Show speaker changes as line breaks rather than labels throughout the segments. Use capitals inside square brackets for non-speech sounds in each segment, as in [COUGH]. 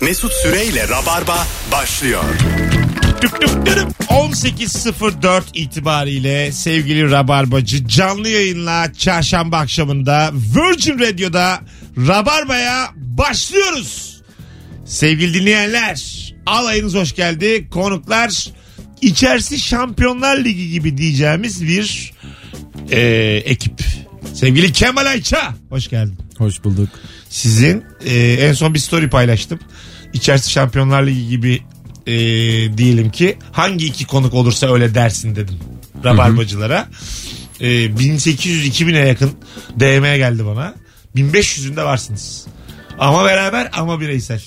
Mesut Süreyle Rabarba başlıyor.
Düp düp dürüm. 18.04 itibariyle sevgili Rabarbacı canlı yayınla çarşamba akşamında Virgin Radio'da Rabarba'ya başlıyoruz. Sevgili dinleyenler alayınız hoş geldi. Konuklar içerisi Şampiyonlar Ligi gibi diyeceğimiz bir e, ekip. Sevgili Kemal Ayça hoş geldin.
Hoş bulduk.
Sizin e, en son bir story paylaştım. İçerisi Şampiyonlar Ligi gibi e, diyelim ki hangi iki konuk olursa öyle dersin dedim. Rabarbacılara. E, 1800-2000'e yakın DM'ye geldi bana. 1500'ünde varsınız. Ama beraber ama bireysel.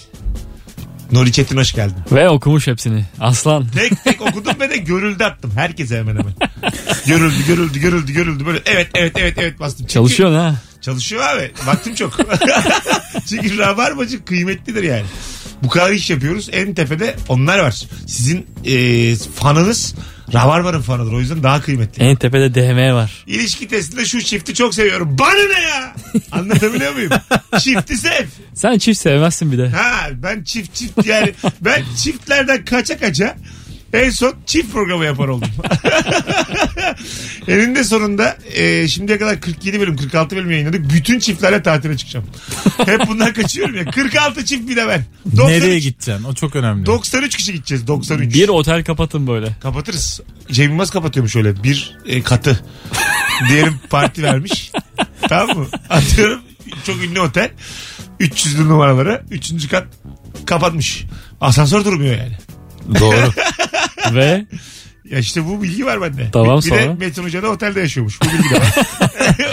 Nuri Çetin hoş geldin.
Ve okumuş hepsini. Aslan.
Tek tek okudum ve de görüldü attım. Herkese hemen hemen. görüldü görüldü görüldü görüldü böyle evet evet evet evet bastım. Çünkü-
Çalışıyorsun ha.
Çalışıyor abi. Vaktim çok. [LAUGHS] Çünkü rabarbacı kıymetlidir yani. Bu kadar iş yapıyoruz. En tepede onlar var. Sizin e, fanınız rabarbanın fanıdır. O yüzden daha kıymetli.
En tepede DM var.
İlişki testinde şu çifti çok seviyorum. Bana ne ya? Anlatabiliyor muyum? çifti sev.
Sen çift sevmezsin bir de.
Ha ben çift çift yani ben çiftlerden kaça kaça en son çift programı yapar oldum. [LAUGHS] Eninde sonunda e, şimdiye kadar 47 bölüm 46 bölüm yayınladık. Bütün çiftlerle tatile çıkacağım. Hep bundan kaçıyorum ya. 46 çift bir de ben. 93,
Nereye gideceksin? O çok önemli.
93 kişi gideceğiz 93.
Bir otel kapatın böyle.
Kapatırız. Cem Yılmaz kapatıyormuş öyle bir e, katı. Diyelim parti vermiş. tamam mı? Atıyorum çok ünlü otel. 300 numaraları. Üçüncü kat kapatmış. Asansör durmuyor yani.
Doğru.
Ve
Ya işte bu bilgi var bende.
Tamam,
bir, bir de
sonra?
Metin Hoca da otelde yaşıyormuş. Bu bilgi de var.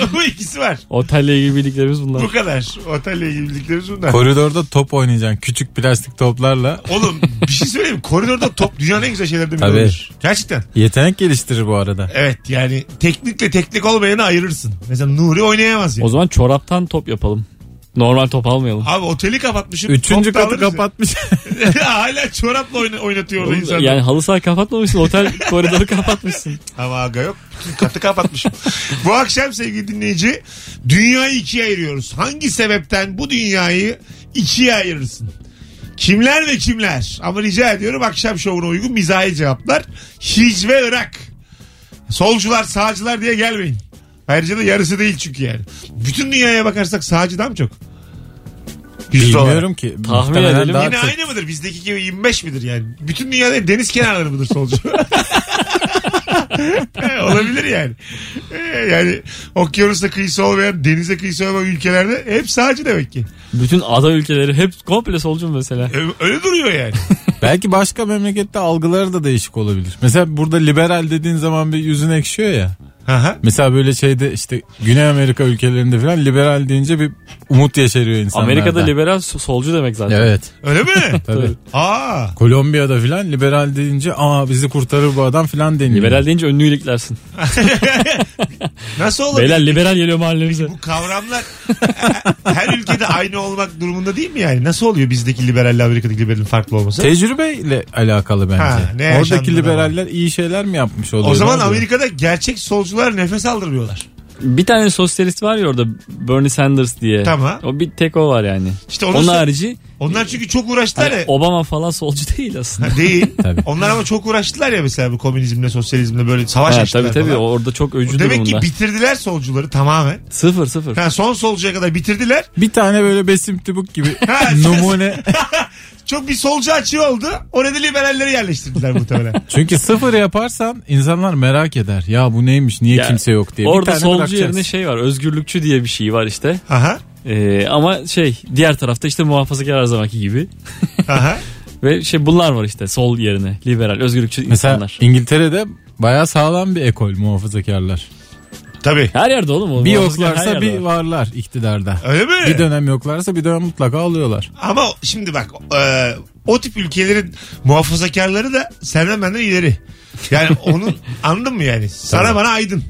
[LAUGHS] bu ikisi var.
otelle ilgili bildiklerimiz bunlar.
Bu kadar. Otelle ilgili bildiklerimiz [LAUGHS] bunlar.
Koridorda top oynayacaksın. Küçük plastik toplarla.
Oğlum bir şey söyleyeyim. mi? Koridorda top dünyanın en güzel şeylerinden biri
Tabii.
olur. Gerçekten.
Yetenek geliştirir bu arada.
Evet yani teknikle teknik olmayanı ayırırsın. Mesela Nuri oynayamaz yani.
O zaman çoraptan top yapalım. Normal top almayalım.
Abi oteli kapatmışım.
Üçüncü
top da
katı
alırız ya. [LAUGHS]
kapatmış.
Hala çorapla oyna- oynatıyor orada
Oğlum,
insan.
yani halı saha
[LAUGHS]
kapatmamışsın. Otel koridoru kapatmışsın.
Ama aga yok. Bütün Katı kapatmışım. bu akşam sevgili dinleyici dünyayı ikiye ayırıyoruz. Hangi sebepten bu dünyayı ikiye ayırırsın? Kimler ve kimler? Ama rica ediyorum akşam şovuna uygun mizahi cevaplar. Hiç ve Irak. Solcular sağcılar diye gelmeyin. Ayrıca da yarısı değil çünkü yani. Bütün dünyaya bakarsak sağcı daha mı çok? Yüzde olarak.
Bilmiyorum ki.
Tahmin
Muhtemelen
edelim.
daha
Yine
çok.
aynı mıdır? Bizdeki gibi 25 midir yani? Bütün dünyada hep deniz kenarları mıdır
[LAUGHS]
solcu? He, Olabilir yani. He, Yani okyanusta kıyısı olmayan, denize kıyısı olmayan ülkelerde hep sağcı demek ki.
Bütün ada ülkeleri hep komple solcu mu mesela.
Ö- Öyle duruyor yani.
Belki başka memlekette algıları da değişik olabilir. Mesela burada liberal dediğin zaman bir yüzün ekşiyor ya.
Aha.
Mesela böyle şeyde işte Güney Amerika ülkelerinde falan liberal deyince bir umut yaşarıyor insanlarda.
Amerika'da liberal so- solcu demek zaten.
Evet.
Öyle mi?
[LAUGHS] Tabii.
Tabii.
Aa.
Kolombiya'da filan liberal deyince aa bizi kurtarır bu adam filan deniliyor.
Liberal deyince önünü iliklersin.
Nasıl olabilir?
Beyler liberal geliyor mahallemize.
Bu kavramlar her ülkede aynı olmak durumunda değil mi yani? Nasıl oluyor bizdeki liberalle Amerika'daki liberalin farklı olması?
Tecrübeyle alakalı bence.
Ha, ne yaşandığına
Oradaki liberaller iyi şeyler mi yapmış oluyor?
O zaman
Ne oluyor?
Amerika'da gerçek solcular nefes aldırmıyorlar.
Bir tane sosyalist var ya orada Bernie Sanders diye.
Tamam.
O bir tek o var yani.
İşte onu
Onun
sor-
harici
Onlar çünkü çok uğraştılar ya.
hani Obama falan solcu [LAUGHS] değil aslında.
Ha, Değil.
Tabii.
Onlar ama çok uğraştılar ya mesela bu komünizmle, sosyalizmle böyle savaş
Ha,
açtılar
tabii tabii
falan.
orada çok öcü
Demek
durumda.
ki bitirdiler solcuları tamamen.
Sıfır sıfır.
Ha, son solcuya kadar bitirdiler.
Bir tane böyle Besim Tübük gibi
[LAUGHS] Ha, şey.
numune.
Çok bir solcu açığı oldu. Orada liberalleri yerleştirdiler
[LAUGHS]
muhtemelen.
Çünkü sıfır yaparsan insanlar merak eder. Ya bu neymiş niye
Ya,
kimse yok diye. bir
Orada
tane
solcu
bırakacaksın.
yerine şey var özgürlükçü diye bir şey var işte.
Aha,
Ee, ama şey diğer tarafta işte muhafazakar her zamanki gibi.
aha.
Ve şey bunlar var işte sol yerine liberal özgürlükçü
Mesela
insanlar.
İngiltere'de bayağı sağlam bir ekol muhafazakarlar.
Tabii.
Her yerde oğlum. o
Bir
muhafazakar her
yoklarsa
yerde
bir
var. [LAUGHS]
varlar iktidarda.
Öyle mi?
Bir dönem yoklarsa bir dönem mutlaka alıyorlar.
Ama şimdi bak e, o tip ülkelerin muhafazakarları da senden benden ileri. Yani
[LAUGHS]
onun anladın mı yani? Sana bana aydın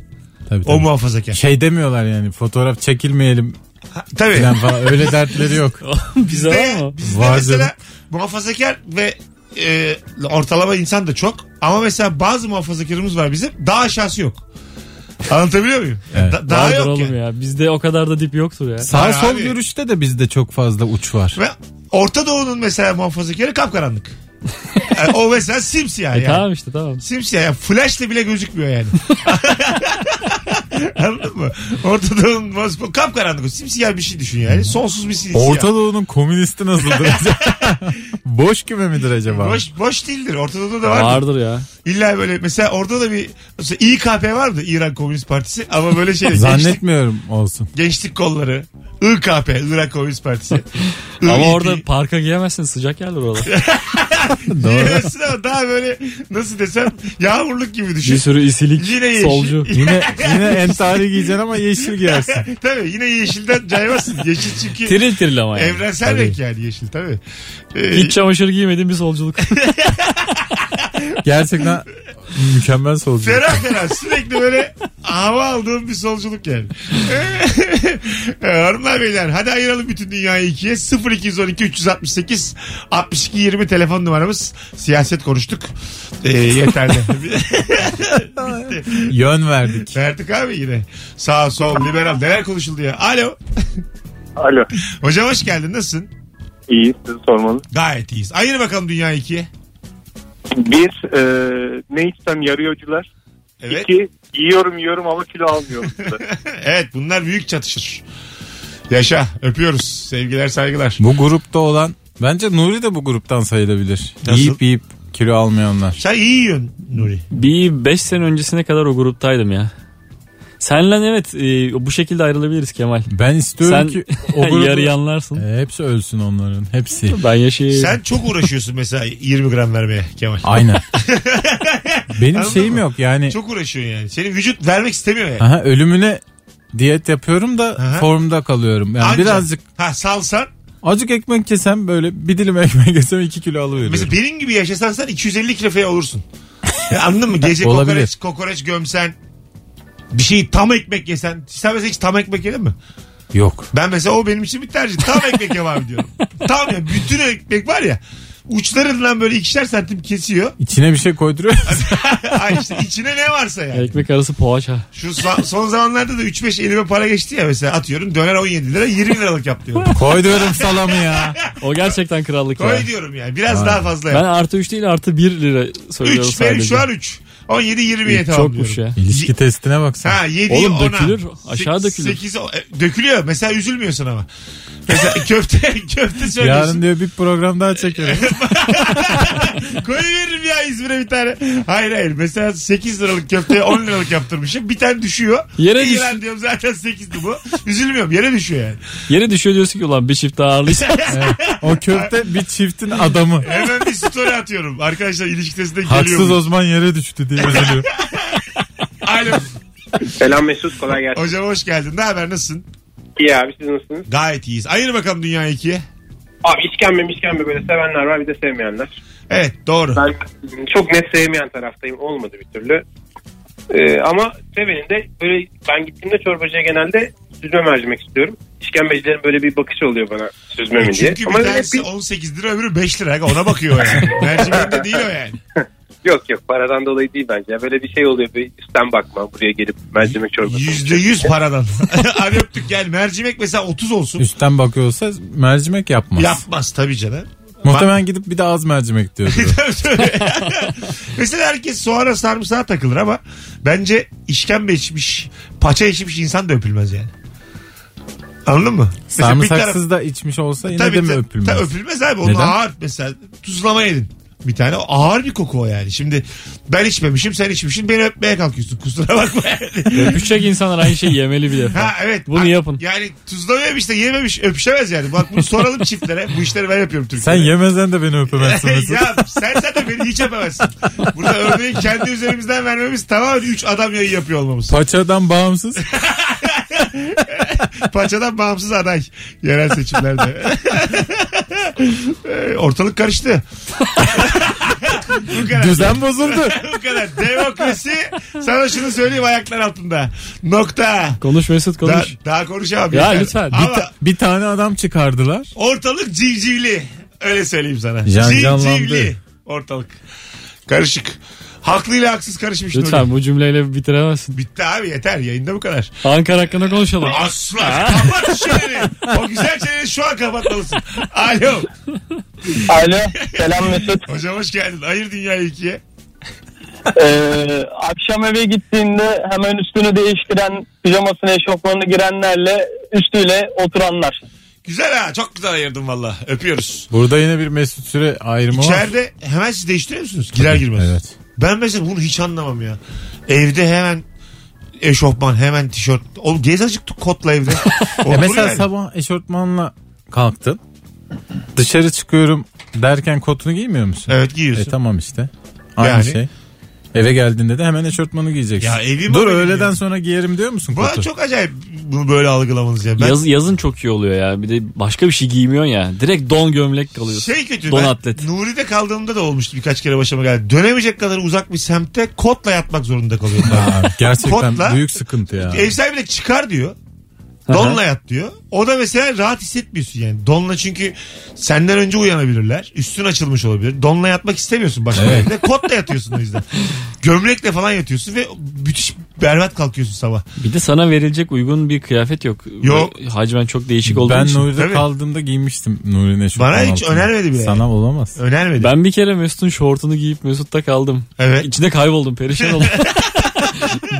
Tabii,
o
tabii.
muhafazakar.
Şey demiyorlar yani fotoğraf çekilmeyelim
Ha, Tabii.
falan falan. öyle
[LAUGHS]
dertleri yok.
Bizde var
Bizde,
mı?
bizde
Var
mesela
canım.
muhafazakar ve e, ortalama insan da çok. Ama mesela bazı muhafazakarımız var bizim. Daha aşağısı yok. Anlatabiliyor muyum? Yani
[LAUGHS] Evet.
da- daha
Vardır
yok
oğlum
yani.
ya. Bizde o kadar da dip yoktur ya.
Sağ
Var
sol
abi.
görüşte de bizde çok fazla uç var.
Ve Orta Doğu'nun mesela muhafazakarı kapkaranlık.
[LAUGHS]
Yani o mesela simsiyah yani.
E, Tamam işte tamam.
Simsiyah yani flashla bile gözükmüyor
[LAUGHS]
yani. Anladın mı? Orta Doğu'nun muhafazakarı kapkaranlık. o. Simsiyah bir şey düşün yani. Sonsuz bir simsiyah.
Orta Doğu'nun komünisti
[LAUGHS]
nasıldır acaba? Boş küme midir acaba?
Boş, boş değildir. Orta Doğu'da da vardır.
Vardır ya.
İlla böyle mesela orada da bir mesela İKP vardı İran Komünist Partisi ama böyle
[LAUGHS]
şey gençlik,
Zannetmiyorum
[LAUGHS]
olsun.
gençlik kolları İKP Irak Komünist Partisi.
[LAUGHS]
E
Ama
İYİP.
orada parka giyemezsin sıcak
[LAUGHS]
yerler oralar.
Doğru.
Giyemezsin ama daha böyle nasıl desem yağmurluk gibi
Bir
düşün. [LAUGHS]
sürü isilik,
Yine yeşil. [LAUGHS]
solcu.
yine yine entari giyeceksin ama yeşil giyersin.
tabii yine yeşilden caymazsın. Yeşil çünkü
Tiril tiril ama yani.
evrensel
Tabii.
renk yani yeşil tabii. Ee,
Hiç çamaşır giymediğim bir solculuk.
Gerçekten mükemmel solcu.
Ferah ferah sürekli böyle hava aldığım bir solculuk yani. [LAUGHS] Ee, Hanımlar beyler hadi ayıralım bütün dünyayı ikiye. 0212 368 62 20 telefon numaramız. Siyaset konuştuk. Ee, yeterli. Bitti.
Yön verdik.
Verdik abi yine. Sağ sol liberal neler konuşuldu ya. Alo.
Alo.
Hocam hoş geldin nasılsın?
İyi sizi sormalı.
Gayet iyiyiz. Ayır bakalım dünyayı ikiye.
Bir e, ne içsem yarıyorcular.
Evet.
İki yiyorum yiyorum ama kilo [LAUGHS] almıyorum. size.
Evet bunlar büyük çatışır. Yaşa öpüyoruz. Sevgiler saygılar.
Bu grupta olan bence Nuri de bu gruptan sayılabilir.
Nasıl?
Yiyip yiyip kilo almayanlar.
Sen iyi yiyorsun Nuri.
bir 5 sene öncesine kadar o gruptaydım ya. Senle evet e, bu şekilde ayrılabiliriz Kemal.
Ben istiyorum
Sen [LAUGHS]
ki o grubu...
yarıyanlarsın.
E, hepsi ölsün onların. Hepsi.
Ben
Ee,
yaşayayım.
Sen çok uğraşıyorsun mesela 20 gram vermeye Kemal. [LAUGHS]
Aynen. Benim
Anladın
şeyim
mı?
yok yani.
Çok uğraşıyorsun yani. Senin vücut vermek istemiyor yani.
Aha, ölümüne diyet yapıyorum da
Aha.
formda kalıyorum. Yani
Anca-
birazcık
Ha salsan.
Azıcık ekmek kesem böyle bir dilim ekmek kesem 2 kilo alıveriyorum.
Mesela benim gibi yaşasan sen 250 kilo falan olursun. Ya anladın mı? Gece
[LAUGHS] Olabilir.
kokoreç, kokoreç gömsen. Bir şeyi tam ekmek yesen. Sen mesela hiç tam ekmek yedin mi?
Yok.
Ben mesela o benim için bir tercih. Tam
[LAUGHS]
ekmek yemem diyorum. Tam ya. Bütün ekmek var ya. Uçlarından böyle ikişer santim kesiyor. [LAUGHS]
İçine bir şey koyduruyor. [LAUGHS]
Ay işte içine ne varsa yani.
Ekmek arası poğaça.
Şu sa- son zamanlarda da 3-5 elime para geçti ya mesela atıyorum. Döner 17 lira 20 liralık yap diyorum.
[LAUGHS]
Koyduyorum salamı ya.
O gerçekten krallık ya.
Koy diyorum yani. Biraz daha fazla
Ben
yap.
artı 3 değil artı 1 lira söylüyorum
3 benim
sadece.
şu an 3. 17 20'ye
İyi,
tamam
Çokmuş
diyorum.
ya.
İlişki testine baksana.
Ha 7
Oğlum dökülür, aşağı dökülür.
8 e, dökülüyor. Mesela üzülmüyorsun ama.
[LAUGHS]
Mesela köfte köfte söylüyorsun.
Yarın diyor bir program daha çekerim.
Koy veririm ya İzmir'e bir tane. Hayır hayır. Mesela 8 liralık köfteye 10 liralık yaptırmışım. Bir tane düşüyor.
Yere
İyi
düş-
lan diyorum zaten 8'di bu. Üzülmüyorum. Yere düşüyor yani.
Yere düşüyor diyorsun ki ulan bir çift daha ağırlayacağım.
O köfte bir çiftin adamı.
Hemen bir story atıyorum. Arkadaşlar ilişkidesinde geliyor.
Haksız
bu.
Osman yere düştü
[LAUGHS]
diye üzülüyor.
Alo.
Selam Mesut kolay gelsin.
Hocam hoş geldin. Ne haber? Nasılsın?
İyi abi siz nasılsınız?
Gayet iyiyiz. Ayır bakalım dünyayı ikiye.
Abi işkembe işkembe böyle sevenler var bir de sevmeyenler.
Evet doğru.
Ben çok net sevmeyen taraftayım olmadı bir türlü. Ee, ama sevenin de böyle ben gittiğimde çorbacıya genelde süzme mercimek istiyorum. İşkembecilerin böyle bir bakışı oluyor bana süzme mi diye.
Çünkü
Ama
bir
ben hep
tanesi 18 lira öbürü 5 lira. Ona bakıyor
[LAUGHS]
yani. Mercimeğinde değil o yani.
Yok yok paradan dolayı değil bence. Ya Böyle bir şey oluyor bir üstten bakma buraya gelip mercimek çorbası.
%100 paradan. [LAUGHS] Hadi öptük yani. Mercimek mesela 30 olsun.
Üstten bakıyorsa mercimek yapmaz.
Yapmaz tabii canım.
Muhtemelen gidip bir de az
[LAUGHS]
mercimek diyor.
Mesela herkes soğana sarımsağa takılır ama bence işkembe içmiş, paça içmiş insan da öpülmez yani. Anladın mı? Mesela bir taraf-
Sarımsaksız da içmiş olsa yine de mi
ta-
öpülmez?
ta- öpülmez abi. Onun
Neden?
ağır mesela tuzlama yedin. Bir tane O ağır bir koku o yani. Şimdi ben içmemişim sen içmişsin beni öpmeye kalkıyorsun kusura bakma
[LAUGHS]
yani.
Öpüşecek insanlar aynı şeyi yemeli bir defa.
Ha evet.
Bunu
Ha,
yapın.
Yani tuzlama yemiş de yememiş öpüşemez yani. Bak bunu soralım çiftlere. Bu işleri ben yapıyorum
Sen
Türkiye'de. [LAUGHS]
yemezsen de beni öpemezsin. Mesut.
ya sen zaten beni hiç yapamazsın. Burada örneği kendi üzerimizden vermemiz tamamen 3 adam yayın yapıyor olmamız.
Paçadan bağımsız.
Paçadan bağımsız aday yerel seçimlerde. [LAUGHS] Ee, Ortalık karıştı. bu kadar.
Düzen bozuldu.
[LAUGHS] bu kadar. Demokrasi sana şunu söyleyeyim ayaklar altında. Nokta.
Konuş Mesut
Daha,
konuş.
daha konuşamam.
Ya
Yeter.
lütfen, bir
Ama
Bir tane adam çıkardılar.
ortalık civcivli. Öyle söyleyeyim sana.
Can
civcivli
canlandı.
ortalık. Karışık. Haklıyla haksız karışmış. Nuri.
Lütfen bu cümleyle bitiremezsin.
Bitti abi yeter yayında bu kadar.
Ankara hakkında konuşalım.
Asla kapat şu çeneni. O güzel çeneni şu an kapatmalısın. Alo.
Alo. Selam Mesut.
Hocam hoş geldin. Hayır dünya ikiye.
Ee, akşam eve gittiğinde hemen üstünü değiştiren, pijamasını eşofmanını girenlerle üstüyle oturanlar.
Güzel ha çok güzel ayırdın valla. Öpüyoruz.
Burada yine bir mesut süre ayrımı var.
İçeride hemen siz değiştiriyor musunuz? Girer girmez.
Evet.
Ben mesela bunu hiç anlamam ya. Evde hemen eşofman hemen tişört. Oğlum gez azıcık kotla evde.
[LAUGHS] Ya
Olur
E mesela
yani.
sabah eşortmanla kalktın. Dışarı çıkıyorum derken kotunu giymiyor musun?
Evet
E
giyiyorsun.
tamam işte. Aynı
Yani.
şey. Eve geldiğinde de hemen eşortmanı giyeceksin.
Ya evi
Dur
bana
öğleden
giyiyor.
sonra giyerim diyor musun
Bu
kotu?
çok acayip bunu böyle algılamanız ya. Ben
Yaz, yazın çok iyi oluyor ya. Bir de başka bir şey giymiyorsun ya. Direkt don gömlek kalıyorsun.
şey kötü.
Don
ben
atlet.
Nuri'de kaldığımda da olmuştu birkaç kere başıma geldi. Dönemeyecek kadar uzak bir semtte kotla yatmak zorunda kalıyorum. ben.
Aa, gerçekten
Kotla-
büyük sıkıntı [LAUGHS] ya.
Ev sahibi de çıkar diyor.
hı.
Donla yat diyor. O da mesela rahat hissetmiyorsun yani. Donla çünkü senden önce uyanabilirler. Üstün açılmış olabilir. Donla yatmak istemiyorsun başka bir evde. Kotla yatıyorsun o
[LAUGHS]
yüzden. Gömlekle falan yatıyorsun ve müthiş berbat kalkıyorsun sabah.
Bir de sana verilecek uygun bir kıyafet yok.
Yok.
Bu Hacmen çok değişik olduğu
Ben
için.
Nuri'de
Tabii.
kaldığımda giymiştim Nuri'nin eşofmanı.
Bana hiç
altını.
önermedi bile.
Sana olamaz.
Önermedim.
Ben bir kere Mesut'un şortunu giyip Mesut'ta kaldım.
Evet.
İçinde kayboldum perişan
[LAUGHS]
oldum.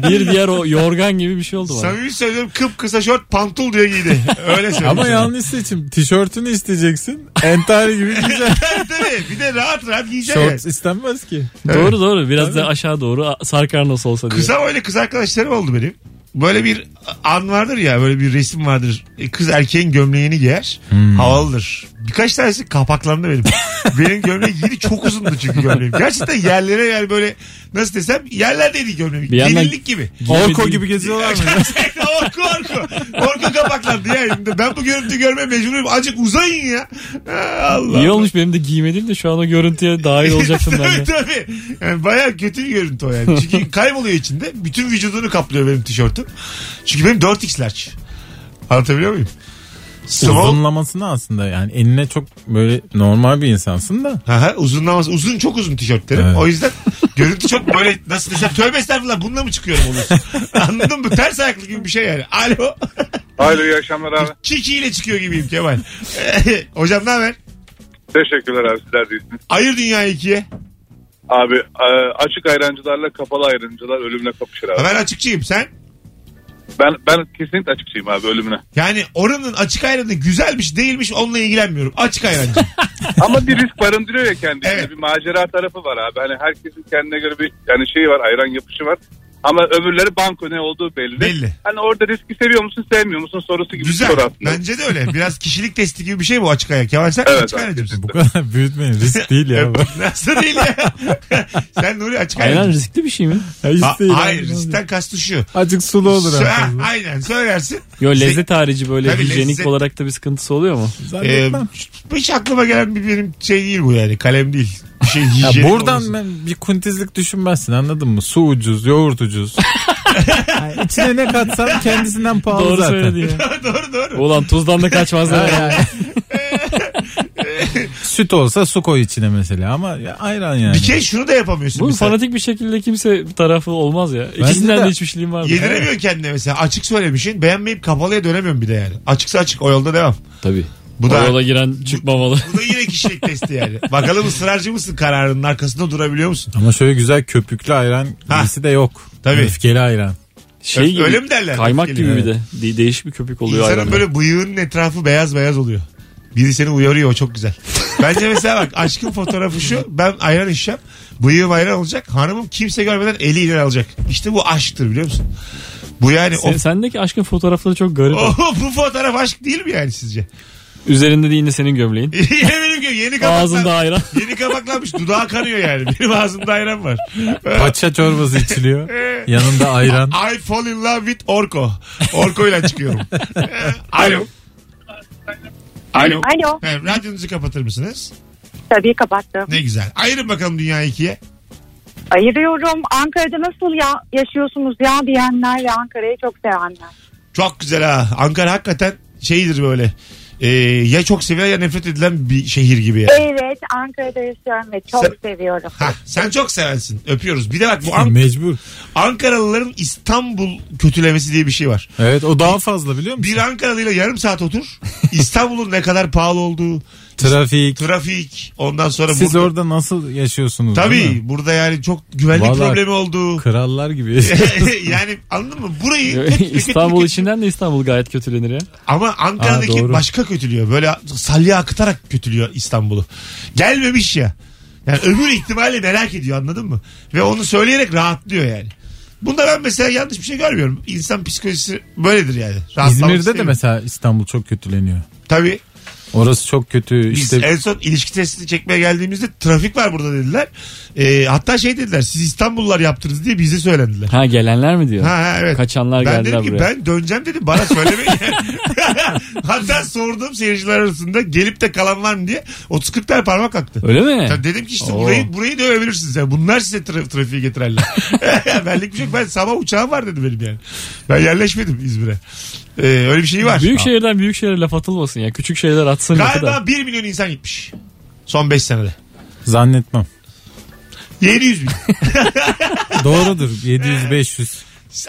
bir diğer o yorgan gibi bir şey oldu bana.
Samimi söylüyorum kıpkısa şort pantul diye giydi. Öyle söyleyeyim.
Ama
sana.
yanlış seçim. Tişörtünü isteyeceksin. Entari
[LAUGHS]
gibi
[LAUGHS]
giyeceksin.
Tabii tabii. Bir de rahat rahat giyeceksin. yani.
Şort istenmez ki.
Doğru doğru biraz da aşağı doğru a- sarkar nasıl olsa diye.
Kısa böyle kız arkadaşlarım oldu benim. Böyle bir an vardır ya böyle bir resim vardır. E, Kız erkeğin gömleğini giyer.
Hmm.
Havalıdır. Birkaç tanesi kapaklandı benim. benim gömleğim giydi çok uzundu çünkü gömleğim. Gerçekten yerlere yani böyle nasıl desem yerlerdeydi gömleğim.
Bir yandan-
Gelinlik gibi.
Orko gibi geziyorlar mı?
[LAUGHS] Gerçekten orku orku. Orku kapaklandı ya elimde. Ben bu görüntüyü görmeye mecburum. Azıcık uzayın ya. Ha, Allah.
İyi olmuş benim de giymediğim de şu an o görüntüye
[LAUGHS]
dahil olacaktım ben
tabii
de.
tabii. Yani bayağı kötü bir görüntü o
[LAUGHS]
yani. Çünkü kayboluyor içinde. Bütün vücudunu kaplıyor benim tişörtüm. Çünkü benim 4x large. Anlatabiliyor muyum? Small.
Uzunlamasına aslında yani enine çok böyle normal bir insansın da.
Aha, uzunlaması. Uzun çok uzun tişörtlerim.
Evet.
O yüzden görüntü çok böyle nasıl desem tövbe estağfurullah bununla mı çıkıyorum olursun. Anladın mı? Ters ayaklı gibi bir şey yani. Alo.
Hayırlı iyi akşamlar abi.
Çikiyle çıkıyor gibiyim Kemal. [LAUGHS] Hocam ne haber?
Teşekkürler abi sizler de iyisiniz.
Ayır dünyayı ikiye.
Abi e, açık ayrancılarla kapalı ayrancılar ölümüne kapışır abi.
Ben açıkçıyım. Sen?
Ben ben kesinlikle açıkçıyım abi ölümüne.
Yani oranın açık ayranı güzelmiş değilmiş onunla ilgilenmiyorum. Açık ayrancı.
Ama bir risk barındırıyor ya kendisinde.
Evet.
Bir macera tarafı var abi. Hani herkesin kendine göre bir yani şeyi var ayran yapışı var. Ama öbürleri banko ne olduğu belli.
Belli.
Hani orada riski seviyor musun sevmiyor musun sorusu gibi
Güzel.
bir soru aslında.
Bence de öyle. Biraz kişilik testi gibi bir şey bu açık ayak. Kemal sen
Evet,
açık
abi,
ayrancımsın.
Bu kadar [LAUGHS] büyütmeyin. Risk değil ya. bu.
[LAUGHS] Nasıl değil ya? [LAUGHS] sen Nuri açık
Aynen
ayrancı.
riskli bir şey mi?
Ya hiç
Ha,
değil
hayır
abi.
riskten kastı şu.
Azıcık sulu olur.
Sö-
herhalde.
aynen söylersin.
Yo lezzet harici böyle
Şey- Tabii
hijyenik
lezzet.
olarak da bir sıkıntısı oluyor mu?
Ee,
Zannetmem.
hiç aklıma gelen bir benim şey değil bu yani. Kalem değil. Bir
[LAUGHS]
şey hijyenik
Ya buradan
olması.
ben bir kuntizlik düşünmezsin anladın mı? Su ucuz, yoğurt ucuz. yani içine ne katsan kendisinden pahalı
Doğru
zaten.
söyledi
[LAUGHS]
ya.
doğru doğru.
Ulan tuzdan da kaçmazlar.
Ha yani. Süt olsa su koy içine mesela ama ya ayran yani.
Bir kere şunu da yapamıyorsun.
Bu
mesela.
fanatik bir şekilde kimse bir tarafı olmaz ya. İkisinden
de-
de, içmişliğim var.
Yediremiyor kendine mesela. Açık söylemişsin. Beğenmeyip kapalıya dönemiyorum bir de yani. Açıksa açık. O yolda devam.
Tabii.
Bu da-
O yola giren çıkmamalı.
Bu da yine kişilik testi yani. Bakalım ısrarcı mısın kararının arkasında durabiliyor musun?
Ama şöyle güzel köpüklü ayran
Ha.
gibisi de yok.
Tabii.
Öfkeli ayran.
Şey gibi,
Öyle mi derler?
Kaymak
Öfkeli,
gibi
evet.
bir de. De- değişik bir köpük oluyor
İnsanın
ayranla.
böyle bıyığının etrafı beyaz beyaz oluyor. Biri seni uyarıyor o çok güzel. Bence mesela bak aşkın fotoğrafı şu. Ben ayran içeceğim. Bıyığım ayran olacak. Hanımım kimse görmeden eliyle alacak. İşte bu aşktır biliyor musun? Bu yani o,
Sen, sendeki aşkın fotoğrafları çok garip.
o- [LAUGHS] bu fotoğraf aşk değil mi yani sizce? [LAUGHS]
Üzerinde de yine senin gömleğin.
Eminim ki yeni kapaklan,
Ağzında ayran.
[LAUGHS] Yeni kapaklanmış dudağı kanıyor yani. Benim ağzımda ayran var.
Paça
[LAUGHS]
çorbası içiliyor. Yanında ayran.
I fall in love with Orko. Orko ile çıkıyorum. [LAUGHS] Ee, Alo. Alo.
Alo.
Ee, radyonuzu kapatır mısınız?
Tabii kapattım.
Ne güzel. Ayırın bakalım dünya ikiye.
Ayırıyorum. Ankara'da nasıl ya yaşıyorsunuz ya diyenler ve Ankara'yı çok sevenler.
Çok güzel ha. Ankara hakikaten şeydir böyle. e, ya çok sevilen ya nefret edilen bir şehir gibi yani.
Evet Ankara'da yaşıyorum ve çok
Sen-
seviyorum.
Hah, sen çok seversin. Öpüyoruz. Bir de bak bu An-
E, Mecbur.
Ankaralıların İstanbul kötülemesi diye bir şey var.
Evet o daha fazla biliyor musun?
Bir Ankaralıyla yarım saat otur. İstanbul'un ne kadar pahalı olduğu,
Trafik.
trafik, ondan sonra
Siz
burada,
orada nasıl yaşıyorsunuz? değil
tabii
mi?
burada yani çok güvenlik
Vallahi-
problemi olduğu. [LAUGHS]
Krallar gibi.
yani anladın mı?
[LAUGHS]
Burayı kötü- kötü-
İstanbul
kötü-
içinden de İstanbul gayet kötülenir ya.
Ama Ankara'daki
Aa, doğru.
başka kötülüyor. Böyle salya akıtarak kötülüyor İstanbul'u. Gelmemiş ya. Yani öbür ihtimalle merak ediyor anladın mı? Ve onu söyleyerek rahatlıyor yani. Bunda ben mesela yanlış bir şey görmüyorum. İnsan psikolojisi böyledir yani. Rahatlamak
İzmir'de de
istemiyor.
mesela İstanbul çok kötüleniyor.
Tabii.
Orası çok kötü.
Biz
İşte
en son ilişki testini çekmeye geldiğimizde trafik var burada dediler. Ee, hatta şey dediler siz İstanbullular yaptınız diye bize söylendiler.
Ha gelenler mi diyor?
Ha, ha, evet.
Kaçanlar
ben
geldiler
dedim ki
buraya.
ben döneceğim dedim bana söylemeyin. [LAUGHS] Hatta sordum seyirciler arasında gelip de kalan var mı diye 30-40 tane parmak kalktı.
Öyle mi?
Ya dedim ki işte
Oo.
burayı, burayı da övebilirsiniz. Yani bunlar size tra- trafiği
[LAUGHS]
getirenler. [LAUGHS] Benlik bir şey yok. Ben sabah uçağım var dedi benim yani. Ben yerleşmedim İzmir'e. Ee, öyle bir şey var.
Büyük şehirden büyük şehre laf atılmasın ya. Küçük şehirler atsın lafı da.
Galiba 1 milyon insan gitmiş. Son 5 senede.
zannetmem.
700 bin. [LAUGHS]
Doğrudur. 700-500.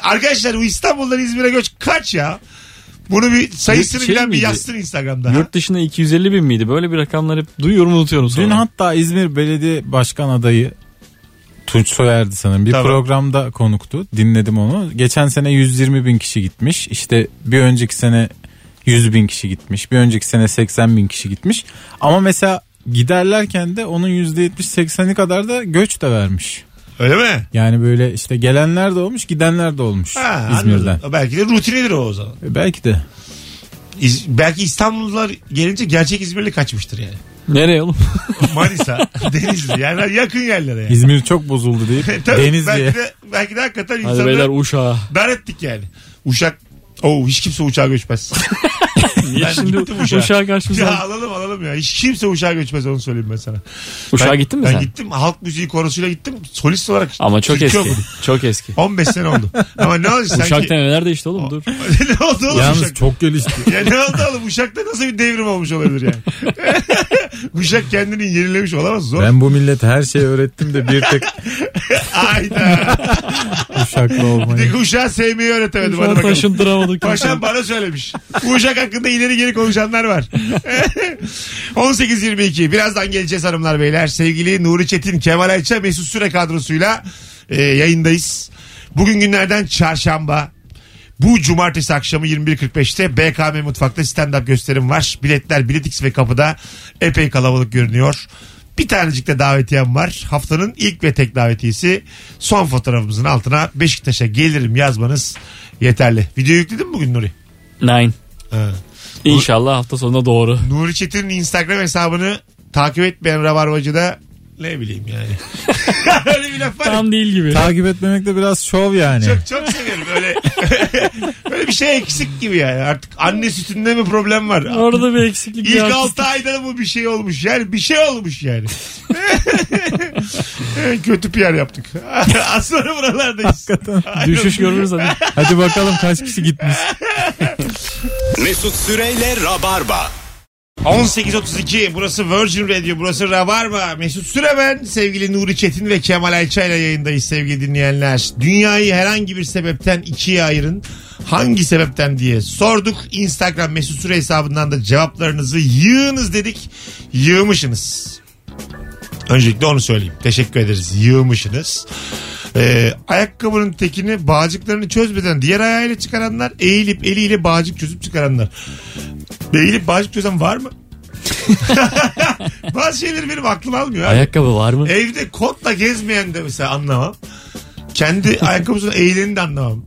Arkadaşlar bu İstanbul'dan İzmir'e göç kaç ya? Bunu bir sayısını
Şey
bilen bir
miydi?
yazsın Instagram'da. ha?
Yurt dışında 250 bin miydi? Böyle bir rakamları hep duyuyorum unutuyorum sonra.
Dün hatta İzmir Belediye Başkan adayı Tunç Soyer'di sanırım. Bir
Tamam.
programda konuktu. Dinledim onu. Geçen sene 120 bin kişi gitmiş. İşte bir önceki sene 100 bin kişi gitmiş. Bir önceki sene 80 bin kişi gitmiş. Ama mesela giderlerken de onun %70-80'i kadar da göç de vermiş.
Öyle mi?
Yani böyle işte gelenler de olmuş gidenler de olmuş
Ha,
İzmir'den.
anladım. Belki de rutinidir o o zaman.
E, Belki de.
İz- belki İstanbullular gelince gerçek İzmirli kaçmıştır yani.
Nereye
[LAUGHS]
oğlum?
[LAUGHS]
Manisa, Denizli yani yakın yerlere yani.
İzmir çok bozuldu
[LAUGHS]
deyip
Tabii,
Denizli'ye.
Belki de, belki de hakikaten
Hadi beyler
insanlar
uşağa.
dar ettik yani. Uşak Oo, hiç kimse uçağa göçmez.
[LAUGHS]
Niye
Ben
[LAUGHS] şimdi
gittim uşağa.
uşağa, karşımıza?
ya alalım alalım ya. Hiç kimse uçağa göçmez onu söyleyeyim ben sana.
uşağa
ben,
gittin mi
ben
sen?
gittim halk müziği korosuyla gittim. Solist olarak.
Ama çok
türkü
eski.
okudum.
Çok eski.
15 sene oldu. Ama ne oldu sanki? [LAUGHS]
Uşak deneler de işte oğlum dur.
ne oldu oğlum
Yalnız
Uşak?
çok gelişti.
Ya ne oldu oğlum Uşak'ta nasıl bir devrim olmuş olabilir yani? [LAUGHS] Uşak kendini yenilemiş olamaz zor.
Ben bu millete her şeyi öğrettim de bir tek
Ayda.
uşaklı
Bir
olmayı.
Uşağı sevmeyi öğretemedim.
Uşağa
Hadi bakalım.
taşındıramadık.
Paşam bana söylemiş. Bu Uşak hakkında ileri geri konuşanlar var. [LAUGHS] 18.22 birazdan geleceğiz hanımlar beyler. Sevgili Nuri Çetin, Kemal Ayça, Mesut Süre kadrosuyla e, yayındayız. Bugün günlerden çarşamba. Bu cumartesi akşamı 21.45'te BKM Mutfak'ta stand-up gösterim var. Biletler Biletix ve kapıda epey kalabalık görünüyor. Bir tanecik de davetiyem var. Haftanın ilk ve tek davetiyesi. Son fotoğrafımızın altına Beşiktaş'a gelirim yazmanız yeterli. Video yükledin mi bugün Nuri?
Nine.
Ha.
İnşallah hafta sonuna doğru.
Nuri Çetin'in Instagram hesabını takip etmeyen Rabarbacı da ne bileyim yani. [LAUGHS] Öyle bir laf var. ya.
Tam değil gibi.
Takip etmemek de biraz şov yani.
Çok çok severim öyle. [LAUGHS] öyle bir şey eksik gibi yani. Artık anne sütünde mi problem var?
Orada bir eksiklik. bir
İlk
artist-
6 ayda da bu bir şey olmuş. Yani bir şey olmuş yani. [LAUGHS] Kötü PR yaptık. [LAUGHS] Az sonra buralardayız. Ayrılmayın.
[LAUGHS] Düşüş görürüz hadi.
[LAUGHS]
Hadi bakalım kaç kişi gitmiş.
Mesut Süreyle Rabarba.
18.32 burası Virgin Radio burası Rabarba Mesut Süre ben sevgili Nuri Çetin ve Kemal Ayça ile yayındayız sevgili dinleyenler dünyayı herhangi bir sebepten ikiye ayırın hangi sebepten diye sorduk Instagram Mesut Süre hesabından da cevaplarınızı yığınız dedik yığmışsınız öncelikle onu söyleyeyim teşekkür ederiz yığmışsınız Ee, ayakkabının tekini bağcıklarını çözmeden diğer ayağıyla çıkaranlar eğilip eliyle bağcık çözüp çıkaranlar Eğilip bağcık çözen var mı? [LAUGHS] Bazı şeyleri benim aklım almıyor. abi.
Ayakkabı var mı?
Evde kotla gezmeyen de mesela anlamam. Kendi ayakkabısına eğileni de anlamam.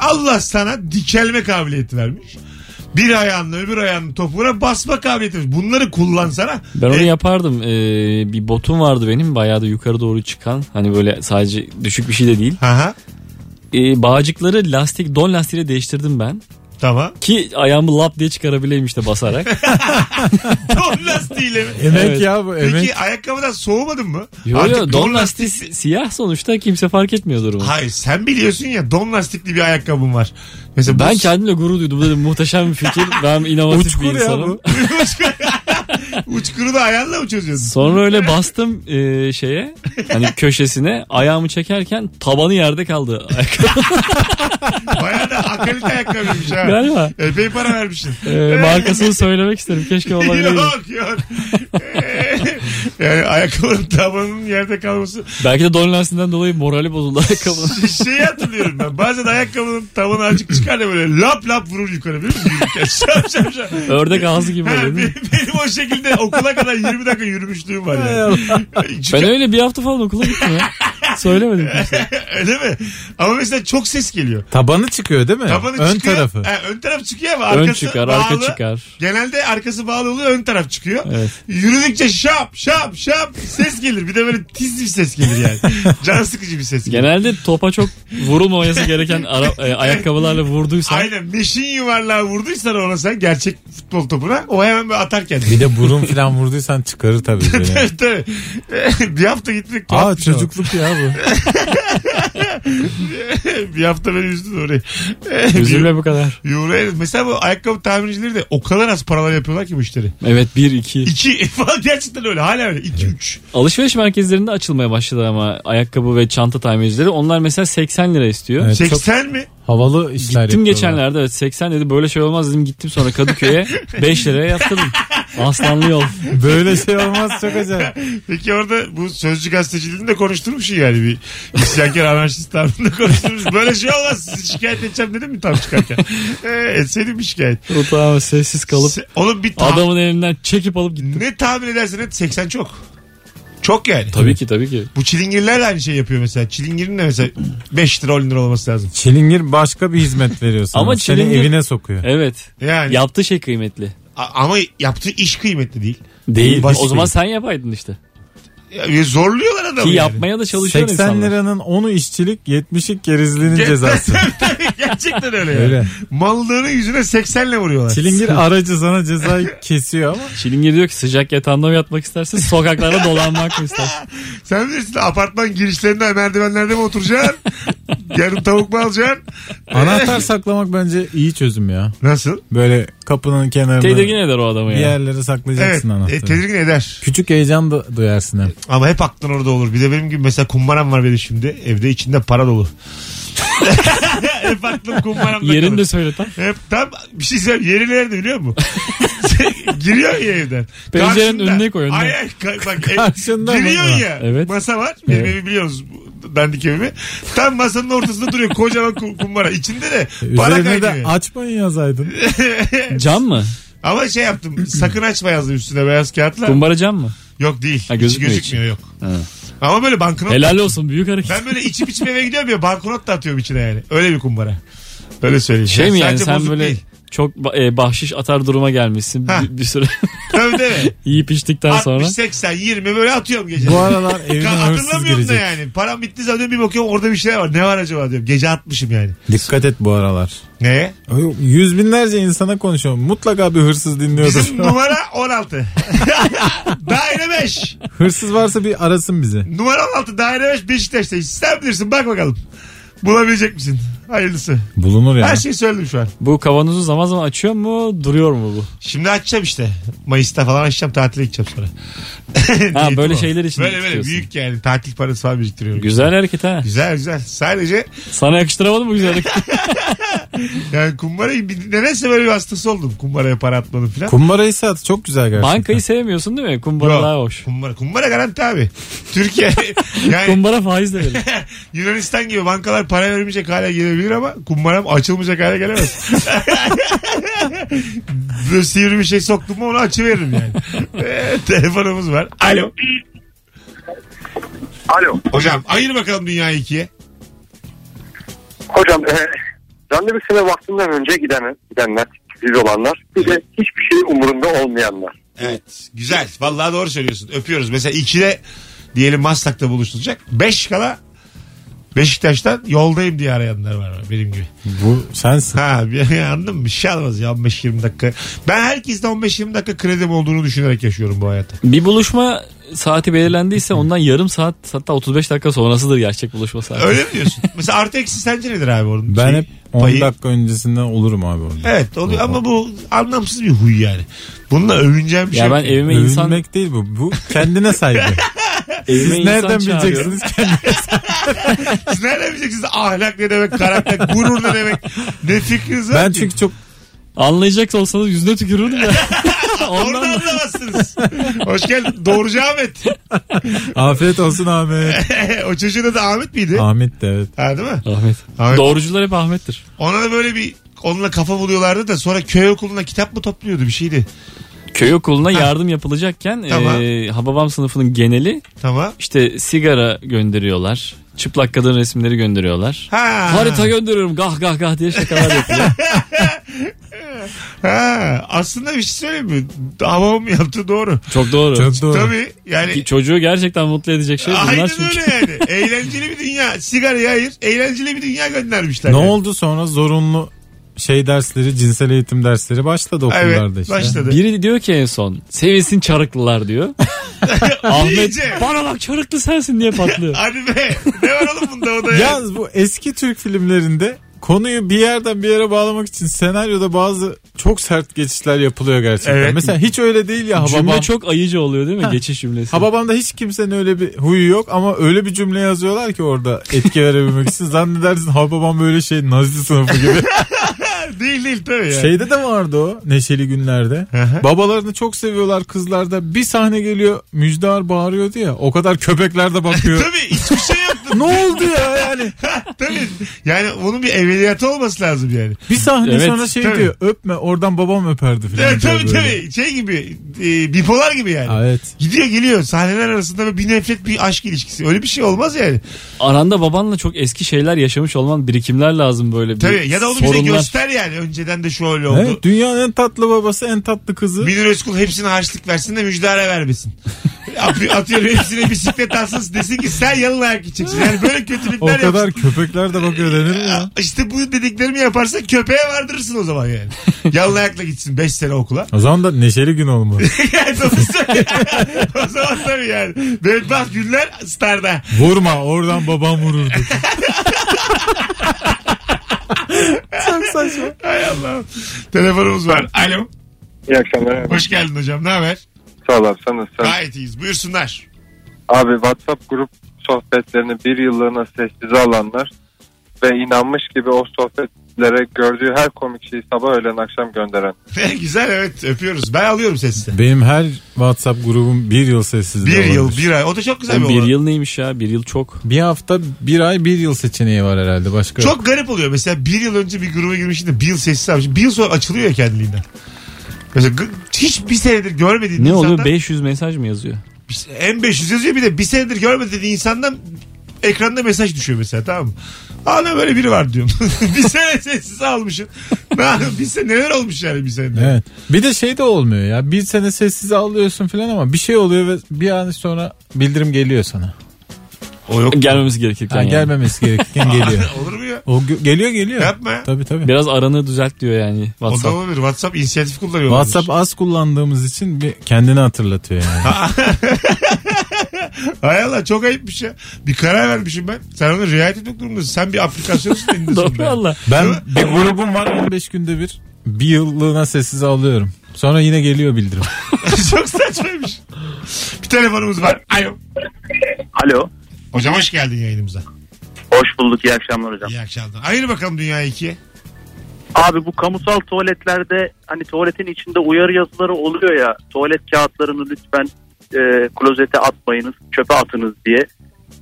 Allah sana dikelme kabiliyeti vermiş. Bir ayağınla öbür ayağının topuğuna basma kabiliyeti vermiş. Bunları kullansana.
Ben onu
E,
yapardım. Ee, bir botum vardı benim bayağı da yukarı doğru çıkan. Hani böyle sadece düşük bir şey de değil.
Aha.
Ee, bağcıkları lastik don lastiğiyle değiştirdim ben.
Tamam.
Ki ayağımı lap diye çıkarabileyim işte basarak.
Don lastiğiyle mi?
Emek
Evet.
ya bu
Peki
emek.
ayakkabıdan soğumadın mı?
Yo
Artık
yo don lastiği si- siyah sonuçta kimse fark etmiyor durumu.
Hayır sen biliyorsun ya don lastikli bir ayakkabım var. Mesela bu-
Ben
[LAUGHS]
kendimle gurur duydum. Dedim muhteşem bir fikir. Ben inovatif
Uçkur
bir
ya
insanım.
bu.
uçkuru da ayağınla mı çözüyorsun?
Sonra
[LAUGHS]
öyle bastım e, şeye hani köşesine ayağımı çekerken tabanı yerde kaldı. [LAUGHS] Ayakkabı
Bayağı da akalit ayakkabıymış ha.
Galiba.
Epey para
[LAUGHS]
vermişsin. Ee,
E, markasını söylemek
[LAUGHS]
isterim. [LAUGHS] Keşke olabileydi.
yok yok. Ee, yani ayakkabının tabanının yerde kalması.
Belki de don lastiğinden dolayı morali bozuldu ayakkabının.
Şeyi hatırlıyorum ben. Bazen ayakkabının tabanı açık çıkar da böyle lap lap vurur yukarı biliyor musun? Yürürken. Şap şap şap.
Ördek ağzı gibi
Ha,
böyle. değil mi?
benim, benim o şekilde okula kadar 20 dakika yürümüşlüğüm var yani. [LAUGHS] Çünkü-
Ben öyle bir hafta falan okula gittim ya. Söylemedim kimseye.
[LAUGHS] Öyle mi? Ama mesela çok ses geliyor.
Tabanı çıkıyor değil mi?
Tabanı
Ön
çıkıyor.
tarafı.
Ha, ön taraf çıkıyor ama arkası
Ön çıkar,
bağlı.
arka çıkar.
Genelde arkası bağlı oluyor ön taraf çıkıyor.
Evet.
Yürüdükçe şap şap şap ses gelir. Bir de böyle tiz bir ses gelir
[LAUGHS]
yani. Can sıkıcı bir ses gelir.
Genelde topa çok [LAUGHS] vurulmaması gereken ara- e, ayakkabılarla vurduysan
Aynen meşin yuvarlağı vurduysan ona sen gerçek futbol topuna o hemen böyle atar
[LAUGHS]
kendini.
Bir de burun falan vurduysan çıkarır
[LAUGHS]
tabii. Böyle.
Evet, tabii. bir hafta gitmek tuhaf
Aa
bir şey
çocukluk ya bu.
oldu. [LAUGHS] bir hafta beni üzdün [LAUGHS] orayı.
üzülme bu kadar.
Euro- Mesela bu ayakkabı tamircileri de o kadar az paralar yapıyorlar ki müşteri.
Evet bir iki.
İki [LAUGHS] falan gerçekten öyle hala öyle. İki üç.
Alışveriş merkezlerinde açılmaya başladı ama ayakkabı ve çanta tamircileri. Onlar mesela 80 lira istiyor.
Evet, çok
80 mi?
havalı işler
Gittim
yapıyorlar.
geçenlerde evet 80 dedi böyle şey olmaz dedim gittim sonra [LAUGHS] Kadıköy'e 5 liraya yaptırdım. Aslanlı yol.
Böyle şey olmaz çok acayip.
[LAUGHS] Peki orada bu sözcü gazeteciliğini de konuşturmuş yani bir isyankar anarşist tarzında konuşturmuş. Böyle şey olmaz sizi şikayet edeceğim dedim mi tam çıkarken? ee, etseydim bir şikayet.
Otağıma sessiz kalıp
Se- Oğlum bir tam,
adamın elinden çekip alıp gittim.
ne tahmin edersen et 80 çok. Çok yani.
Tabii ki tabii ki.
Bu çilingirler de aynı şey yapıyor mesela. Çilingirin de mesela 5 lira 10 lira olması lazım.
Çilingir başka bir hizmet veriyor sana.
Ama
Seni
çilingir-
evine sokuyor.
Evet.
Yani
Yaptığı şey kıymetli.
a- ama yaptığı iş kıymetli değil.
Değil.
Basit
o zaman
değil.
sen yapaydın işte.
Ya, zorluyorlar adamı. yani.
Ki yapmaya da çalışıyor
80
insanlar.
liranın 10'u işçilik 70'lik
[LAUGHS]
gerizliğinin cezası.
Gerçekten öyle. Yani.
Öyle.
Mallığını yüzüne 80'le vuruyorlar.
Çilingir aracı sana cezayı kesiyor ama
Çilingir diyor ki sıcak yatağında mı yatmak istersin sokaklarda dolanmak mı istersin?
Sen bilirsin apartman girişlerinde merdivenlerde mi
[LAUGHS]
oturacaksın? Yarım tavuk mu alacaksın?
anahtar saklamak bence iyi çözüm ya.
[LAUGHS] Nasıl?
Böyle kapının kenarına
Tedirgin eder o adamı
bir
ya.
yerlere
Evet.
saklayacaksın
e,
anahtarı.
tedirgin eder.
Küçük heyecan da duyarsın hem.
Ama hep aklın orada olur. Bir de benim gibi mesela kumbaram var benim şimdi. Evde içinde para dolu. [LAUGHS] hep aklım kumbaramda
Yerini de
kalır.
söyle tam.
Hep tam bir şey söyleyeyim. Yeri nerede biliyor
[LAUGHS]
musun? giriyor ya evden.
Pencerenin
Karşında.
önüne koy, önüne.
Ay, ay, ka-
[LAUGHS]
bak, ev-
Karşında mı?
Giriyorsun ya.
Evet.
Masa var. Benim
Evet.
evi biliyoruz. bu Dandik evimi. Tam masanın ortasında duruyor kocaman kum- kumbara. İçinde de
E,
para
Üzerine de
kaynıyor. [LAUGHS]
açmayın yazaydın.
Cam mı?
Ama şey yaptım. Sakın açma yazdım üstüne beyaz kağıtla.
Kumbara cam mı?
Yok değil.
Ha,
Hiç gözükmüyor,
gözükmüyor
yok. Ama böyle banknot.
Helal olsun büyük hareket.
Ben böyle içip içip eve gidiyorum ya banknot da atıyorum içine yani. Öyle bir kumbara. Öyle söyleyeyim.
Şey mi yani
Sadece
sen
bozuk
böyle
Değil.
çok ba- e, bahşiş atar duruma gelmişsin
Ha.
bir, bir süre [LAUGHS]
Tabii değil mi?
yiyip içtikten
60,
sonra.
80, 20 böyle atıyorum gece.
Bu aralar
Ka-
evine hırsız
Hatırlamıyorum da
girecek.
yani. Param bitti zaten bir bakıyorum orada bir şey var. Ne var acaba diyorum. Gece atmışım yani.
Dikkat et bu aralar.
Neye?
Ay, Yüz binlerce insana konuşuyorum. Mutlaka bir hırsız dinliyordur.
Bizim numara 16. [LAUGHS] daire 5.
[LAUGHS] hırsız varsa bir arasın bizi.
Numara 16 daire 5 Beşiktaş'ta. Sen bilirsin bak bakalım. Bulabilecek misin? Hayırlısı.
Bulunur ya.
Her şey- şeyi söyledim şu an.
Bu kavanozu zaman zaman açıyor mu duruyor mu bu?
Şimdi açacağım işte. Mayıs'ta falan açacağım tatile gideceğim sonra. [LAUGHS] Niyetim
böyle
o.
şeyler için
Böyle böyle
tutuyorsun.
büyük yani tatil parası falan biriktiriyorum.
Güzel hareket ha.
Güzel güzel. Sadece
Sana yakıştıramadım
[LAUGHS]
bu güzellik.
yani kumbarayı bir- nedense böyle bir hastası oldum. Kumbaraya para atmadım falan.
Kumbarayı sat çok güzel gerçekten.
Bankayı sevmiyorsun değil mi? Kumbara
Yok.
daha hoş.
Kumbara, kumbara garanti abi.
[LAUGHS]
Türkiye yani
Kumbara faiz
[LAUGHS]
de verir.
Yunanistan gibi bankalar para vermeyecek hale gelebilir ama kumbaram açılmayacak hale gelemez. Böyle sivri bir şey soktum mu onu açıveririm yani. Ee, telefonumuz var. Alo.
Alo.
Hocam ayır bakalım dünyayı ikiye.
Hocam e, randevusuna vaktinden önce giden, gidenler, siz olanlar bir de hiçbir şey umurunda olmayanlar.
Evet. Güzel. Vallahi doğru söylüyorsun. Öpüyoruz. Mesela 2'de diyelim Maslak'ta buluşulacak. 5 kala Beşiktaş'tan yoldayım diye arayanlar var benim gibi.
Bu sensin.
Ha bir- [LAUGHS] anladın mı? Bir şey almaz ya 15-20 dakika. Ben herkesten 15-20 dakika kredim olduğunu düşünerek yaşıyorum bu hayatı.
Bir buluşma saati belirlendiyse ondan yarım saat hatta 35 dakika sonrasıdır gerçek buluşma saati.
Öyle mi
[LAUGHS]
diyorsun? Mesela artı eksi sence nedir abi onun?
Ben
şeyi,
hep 10
Şey, payı?
dakika öncesinden olurum abi orada.
Evet oluyor ama bu anlamsız bir huy yani. Bununla övüneceğim bir şey.
Ya
e-
ben evime insan
Övünmek değil bu. Bu kendine [LAUGHS] saygı.
evime
Siz
insan
nereden
çağırıyorum.
bileceksiniz kendine?
Siz nereden bileceksiniz ahlak ne demek, karakter, gurur ne demek? Ne fikriniz var
Ben
ki?
çünkü çok
Anlayacak olsanız yüzüne tükürürdüm ya.
Orada
Ondan da.
anlamazsınız. Hoş geldin. Doğrucu Ahmet.
afiyet olsun Ahmet.
[LAUGHS] o çocuğun adı Ahmet miydi?
Ahmet de evet.
Ha değil mi?
Ahmet.
Ahmet.
Doğrucular hep Ahmet'tir.
Ona da böyle bir onunla kafa buluyorlardı da sonra köy okuluna kitap mı topluyordu bir şeydi.
Köy okuluna yardım yapılacakken
Tamam.
eee, Hababam sınıfının geneli
Tamam.
işte sigara gönderiyorlar. Çıplak kadın resimleri gönderiyorlar.
Ha.
Harita gönderiyorum gah gah gah diye şakalar yapıyor.
Ha. Aslında bir şey söyleyeyim mi? Babamın yaptığı doğru.
Çok doğru.
Çok doğru.
Tabii yani
Çocuğu gerçekten mutlu edecek şey bunlar
Aynen
çünkü.
öyle yani. Eğlenceli bir dünya. Sigaraya hayır. Eğlenceli bir dünya göndermişler.
Ne
yani.
oldu sonra zorunlu şey dersleri, cinsel eğitim dersleri başladı okullarda
Evet
işte.
başladı.
Biri diyor ki en son sevinsin çarıklılar diyor. Ahmet
İyice.
bana bak çarıklı sensin
[LAUGHS]
diye patlıyor.
Hadi be. Ne var oğlum bunda o da ya?
Yalnız bu eski Türk filmlerinde konuyu bir yerden bir yere bağlamak için senaryoda bazı çok sert geçişler yapılıyor gerçekten.
Evet.
Mesela hiç öyle değil ya
Cümle
Hababam.
çok ayıcı oluyor değil mi? Geçiş cümlesi.
Hababam'da hiç kimsenin öyle bir huyu yok ama öyle bir cümle yazıyorlar ki orada etki verebilmek için. Zannedersin Hababam böyle şey Nazi
[LAUGHS]
sınıfı gibi.
Değil değil tabii ya.
Şeyde de vardı o Neşeli Günler'de.
hı.
Babalarını çok seviyorlar kızlarda. Bir sahne geliyor Müjdar bağırıyordu ya. O kadar köpekler de
[LAUGHS]
bakıyor.
Tabii hiçbir şey yaptım.
ne oldu ya yani?
tabii. Yani bunun bir evveliyatı olması lazım yani.
Bir sahne
Evet,
sonra şey
tabii.
diyor. Öpme oradan babam öperdi falan.
Evet,
diyor
tabii
böyle.
tabii. Şey gibi. e, bipolar gibi yani.
Aa, Evet.
Gidiyor geliyor sahneler arasında böyle bir nefret bir aşk ilişkisi. Öyle bir şey olmaz yani.
Aranda babanla çok eski şeyler yaşamış olman birikimler lazım böyle bir
Tabii ya da onu bize
sorunlar.
göster yani. Önceden de şöyle oldu.
Evet, dünyanın en tatlı babası en tatlı kızı.
Münir Özkul hepsine harçlık versin de müjdara vermesin.
[LAUGHS]
Atıyor- Atıyorum hepsine bisiklet alsın desin ki sen yalın ayak gideceksin. Yani böyle
[LAUGHS] o
kötülükler
kadar
yapsın.
köpekler de bakıyor denir
[LAUGHS]
mi ya?
İşte bu dediklerimi yaparsa köpeğe vardırırsın o zaman
[LAUGHS]
yani. Yalın ayakla gitsin 5 sene okula. [LAUGHS]
O zaman da neşeli gün olmalı.
Yani doğru söylüyor. [LAUGHS] o zaman tabii yani. Bedbaht günler starda.
Vurma oradan babam vururdu.
Hay Allah'ım. Telefonumuz var. Alo.
İyi akşamlar abi.
Hoş geldin hocam. Ne haber?
Sağ ol abi. Sen nasılsın?
Gayet iyiyiz. Buyursunlar. [LAUGHS]
Abi WhatsApp grup sohbetlerini bir yıllığına sessize alanlar ve inanmış gibi o sohbetlere gördüğü her komik şeyi sabah öğlen akşam gönderen.
Güzel evet öpüyoruz. Ben alıyorum sesini.
Benim her WhatsApp grubum bir yıl sessizliği
Bir yıl,
olabilir.
bir ay. O da çok güzel bir,
Oğlum bir
olay.
yıl neymiş ya? Bir yıl çok.
Bir hafta bir ay bir yıl seçeneği var herhalde başka.
Çok garip oluyor. Mesela bir yıl önce bir gruba girmiştim de bir yıl sessiz almış. Bir yıl sonra açılıyor ya kendiliğinden. Mesela g- hiç bir senedir görmediğin
Ne
insandan...
oluyor? 500 mesaj mı yazıyor?
M500 yazıyor bir de bir senedir görmediğin insandan ekranda mesaj düşüyor mesela tamam mı? Aa ne böyle biri var diyorum. [LAUGHS] bir sene sessiz almışım. Ne, bir sene neler olmuş yani bir senede.
Evet. Bir de şey de olmuyor ya. Bir sene sessize alıyorsun falan ama bir şey oluyor ve bir an sonra bildirim geliyor sana.
O yok.
Gelmemesi gerekirken
Yani
yani.
gelmemesi gerekirken geliyor.
[LAUGHS] Olur mu ya?
O gö- geliyor geliyor.
Yapma ya.
Tabii tabii.
Biraz aranı düzelt diyor yani
O da
WhatsApp.
olabilir. WhatsApp inisiyatif kullanıyor.
WhatsApp az kullandığımız için bir kendini
[LAUGHS]
hatırlatıyor yani.
Hay Allah çok ayıpmış ya. Bir karar vermişim ben. Sen ona riayet etmek durumundasın. Sen bir aplikasyonsun
[LAUGHS]
elindesin.
Doğru
be.
valla.
Ben bir grubum var 15 günde bir bir yıllığına sessize alıyorum. Sonra yine geliyor bildirim.
[LAUGHS] çok saçmaymış. Bir telefonumuz var. Alo.
Alo.
Hocam hoş geldin yayınımıza.
Hoş bulduk. iyi akşamlar hocam.
İyi akşamlar. Ayır bakalım dünya ikiye.
Abi bu kamusal tuvaletlerde hani tuvaletin içinde uyarı yazıları oluyor ya. Tuvalet kağıtlarını lütfen e, klozete atmayınız, çöpe atınız diye.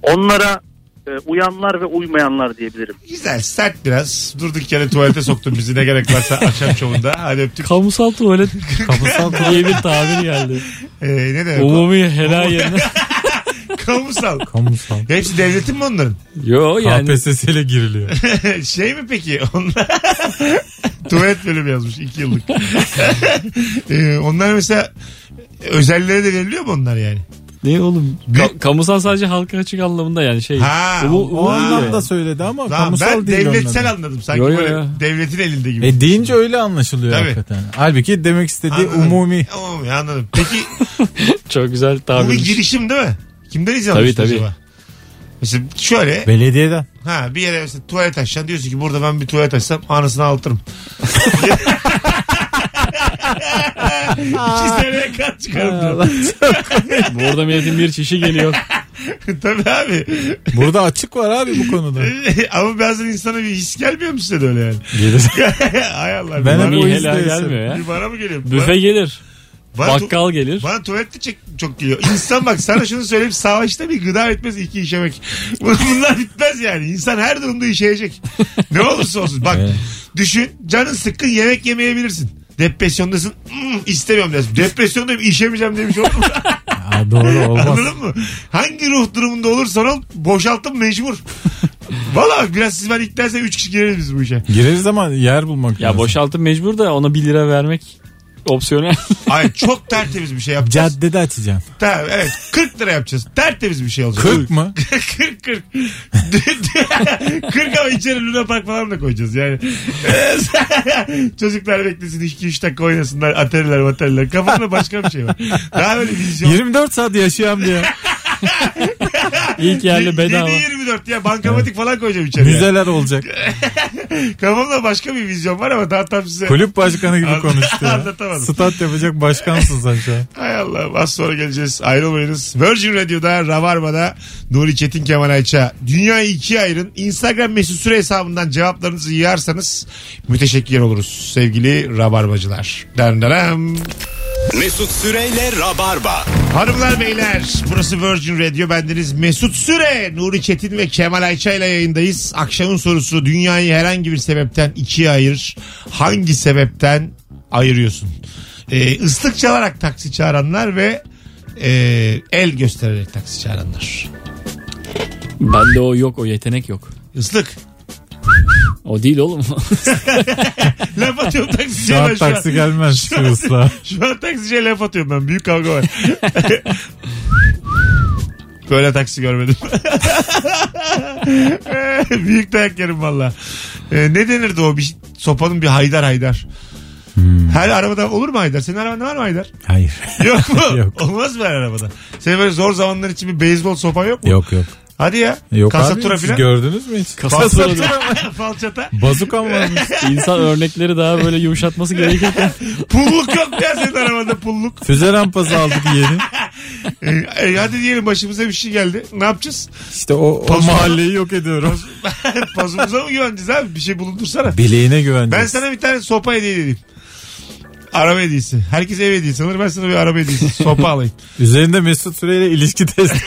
Onlara e, uyanlar ve uymayanlar diyebilirim.
Güzel sert biraz. Durduk yere tuvalete soktun bizi ne gerek varsa akşam şovunda. Hadi öptük.
Kamusal tuvalet
[LAUGHS]
Kamusal
diye bir tabir geldi.
Ee, ne demek o?
Umumi helal [LAUGHS] yerine.
[LAUGHS] Kamusal.
Kamusal.
Hepsi devletin mi onların? [LAUGHS]
Yo yani.
KPSS [LAUGHS] ile giriliyor.
şey mi peki? Onlar... [LAUGHS] Tuvalet bölümü yazmış iki yıllık. [LAUGHS] Ee, onlar mesela özellere de veriliyor mu onlar yani?
Ne oğlum?
Bir-
Ka- kamusal sadece halka açık anlamında yani şey.
Ha,
Umu-
o
umum
O
yani.
anlamda söyledi ama
Lan
kamusal
ben
değil
devletsel
onların.
anladım sanki
Yo, yo,
böyle
yo.
devletin elinde gibi.
E deyince öyle anlaşılıyor
Tabii.
hakikaten. Halbuki demek istediği
Anladım. [LAUGHS]
umumi.
Umumi anladım. Peki
Çok güzel
bu bir
tabirmiş.
girişim değil mi? Kimden izin alıyorsun
Tabii, tabii.
acaba? Mesela şöyle
Belediyeden.
ha bir yere mesela tuvalet açacaksın diyorsun ki burada ben bir tuvalet açsam anasını altırım. İki seneye kat çıkarım.
[LAUGHS] Burada milletin bir çişi geliyor.
[LAUGHS] Tabii abi.
Burada açık var abi bu
[LAUGHS]
konuda.
Ama bazen insana bir his gelmiyor mu size de öyle yani? [LAUGHS] Hay Allah.
Ben
bana,
hep o
Bir
yüzden
helal
istedim.
gelmiyor ya.
bir bana mı geliyor?
Büfe gelir.
Bana- bana tu-
Bakkal gelir.
Bana tuvalette çek, çok geliyor. İnsan bak sana şunu söyleyeyim savaşta bir gıda etmez iki işemek. [LAUGHS] Bunlar bitmez yani. İnsan her durumda işeyecek. Ne olursa olsun. Bak
Evet.
düşün canın sıkkın yemek yemeyebilirsin. Depresyondasın. Hmm, istemiyorum dersin. Depresyondayım işemeyeceğim demiş olur mu?
Aa, doğru olmaz.
Anladın mı? Hangi ruh durumunda olursan ol boşaltım mecbur. Valla bak biraz siz ben iknersem 3 kişi gireriz biz bu işe.
Gireriz ama yer bulmak
Ya
lazım.
boşaltın mecbur da ona 1 lira vermek
[LAUGHS]
opsiyonel.
Ay çok tertemiz bir şey yapacağız.
Caddede açacaksın.
Tamam, evet 40 lira yapacağız. Tertemiz bir şey olacak. [LAUGHS]
40 mı?
40 40. 40 ama içeri Luna Park falan da koyacağız yani. [LAUGHS] Çocuklar beklesin 2-3 dakika oynasınlar. Atariler matariler. Kafasında başka bir şey var. Daha böyle vizyon.
24 saat yaşayan
[LAUGHS]
diye.
İlk yerli bedava.
7-24 ya bankamatik falan koyacağım içeri. yani.
Müzeler olacak.
Kafamda başka bir vizyon var ama daha tam size.
Kulüp başkanı
Anlat-
gibi konuştu ya.
Anlatamadım.
Stat yapacak başkansın sen
[LAUGHS]
şu an.
Hay Allah az sonra geleceğiz ayrılmayınız. Virgin Radio'da Rabarba'da Nuri Çetin Kemal Ayça. Dünyayı ikiye ayırın. Instagram mesut süre hesabından cevaplarınızı yığarsanız müteşekkir oluruz sevgili Rabarbacılar. Dernderem.
Mesut Süreyle Rabarba.
Hanımlar beyler burası Virgin Radio bendeniz Mesut Süre, Nuri Çetin ve Kemal Ayça ile yayındayız. Akşamın sorusu dünyayı herhangi bir sebepten ikiye ayır. Hangi sebepten ayırıyorsun? Ee, ıslık çalarak taksi çağıranlar ve e, el göstererek taksi çağıranlar.
Bende o yok o yetenek yok.
Islık.
O değil oğlum. [LAUGHS]
Laf atıyorum taksiciye
Şu
ben
an
şu an.
taksi gelmez şu ıslah.
Şu an taksiciye laf atıyorum ben. Büyük kavga var. [LAUGHS] Böyle taksi görmedim. [LAUGHS] Büyük dayak yerim valla. Ee, ne denirdi o? Bir, sopanın bir haydar haydar.
Hmm.
Her arabada olur mu haydar? Senin arabanda var mı haydar?
[LAUGHS] Hayır.
Yok mu?
[LAUGHS] Yok.
Olmaz mı her arabada? Senin böyle zor zamanlar için bir beyzbol sopan yok mu?
Yok yok.
Hadi ya.
Yok
Kasatura
abi siz
filan.
gördünüz mü hiç? [LAUGHS]
Kasa tura.
[LAUGHS] Falçata.
Bazukam varmış.
İnsan örnekleri daha böyle yumuşatması gerekirken.
Pulluk yok ya senin arabanda pulluk.
Füze rampası aldık yeni.
Ee, e, hadi diyelim başımıza bir şey geldi. Ne yapacağız?
İşte o, o
Pazuka-
mahalleyi yok ediyorum.
Pazumuza mı güveneceğiz abi? Bir şey bulundursana.
Bileğine
Ben
güveneceğiz.
sana bir tane sopa hediye edeyim. Araba hediyesi. Herkes ev hediyesi alır. Ben sana bir araba hediyesi. Sopa alayım.
Üzerinde Mesut Süreyle ilişki [LAUGHS] testi.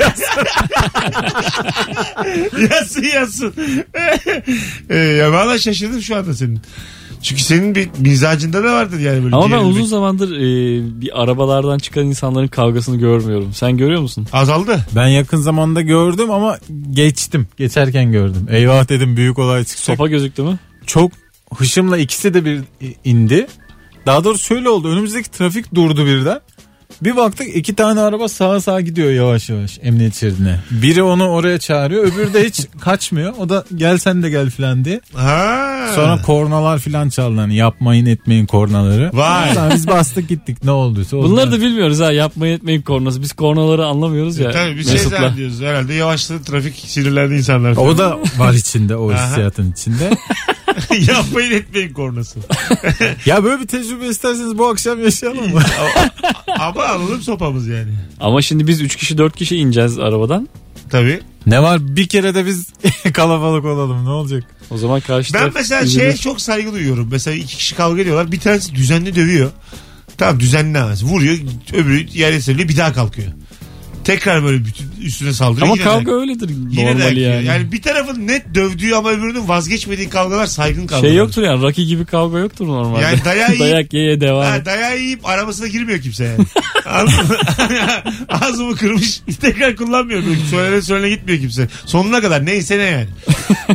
yazsın yazsın. [LAUGHS] ee, ya valla şaşırdım şu anda senin. Çünkü senin bir mizacında da vardır yani böyle.
Ama ben
gerilmek.
uzun zamandır e, bir arabalardan çıkan insanların kavgasını görmüyorum. Sen görüyor musun?
Azaldı.
Ben yakın zamanda gördüm ama geçtim. Geçerken gördüm. Eyvah dedim büyük olay çıkacak.
Sopa gözüktü mü?
Çok hışımla ikisi de bir indi. Daha doğrusu şöyle oldu. Önümüzdeki trafik durdu birden. Bir baktık iki tane araba sağa sağa gidiyor yavaş yavaş emniyet şeridine. Biri onu oraya çağırıyor öbürü de hiç kaçmıyor. O da gel sen de gel filan diye.
Ha.
Sonra kornalar filan çaldı. Hani yapmayın etmeyin kornaları.
Vay.
Sonra biz bastık gittik ne olduysa. oldu.
Bunları da bilmiyoruz ha yapmayı etmeyin kornası. Biz kornaları anlamıyoruz ya.
Tabii bir şey
Mesut'la.
zannediyoruz. Herhalde yavaşladı trafik sinirlendi insanlar.
O da var içinde o hissiyatın içinde.
[LAUGHS] Yapmayın etmeyin kornası.
Ya böyle bir tecrübe isterseniz bu akşam yaşayalım mı?
Ama alalım sopamız yani.
Ama şimdi biz 3 kişi 4 kişi ineceğiz arabadan.
Tabii.
[LAUGHS] ne var bir kere de biz [LAUGHS] kalabalık olalım ne olacak?
O zaman karşı
Ben
taraf
mesela şey-
üzülür.
şeye çok saygı duyuyorum. Mesela iki kişi kavga ediyorlar. Bir tanesi düzenli dövüyor. Tamam düzenli ama Vuruyor. Öbürü yere seriliyor. Bir daha kalkıyor. Tekrar böyle bütün üstüne saldırıyor.
Ama
Yine
kavga
de-
öyledir
yine de
normali yani.
yani. yani. bir tarafın net dövdüğü ama öbürünün vazgeçmediği kavgalar saygın kavgalar.
Şey yoktur yani Rocky gibi kavga yoktur normalde.
Yani dayağı
[LAUGHS]
yiyip-
Dayak ye ye devam.
Ha, dayağı yiyip arabasına girmiyor kimse yani. [LAUGHS] Anladın mı? Ağzımı kırmış [LAUGHS] tekrar kullanmıyor. Böyle Söylene söylene gitmiyor kimse. Sonuna kadar neyse ne yani.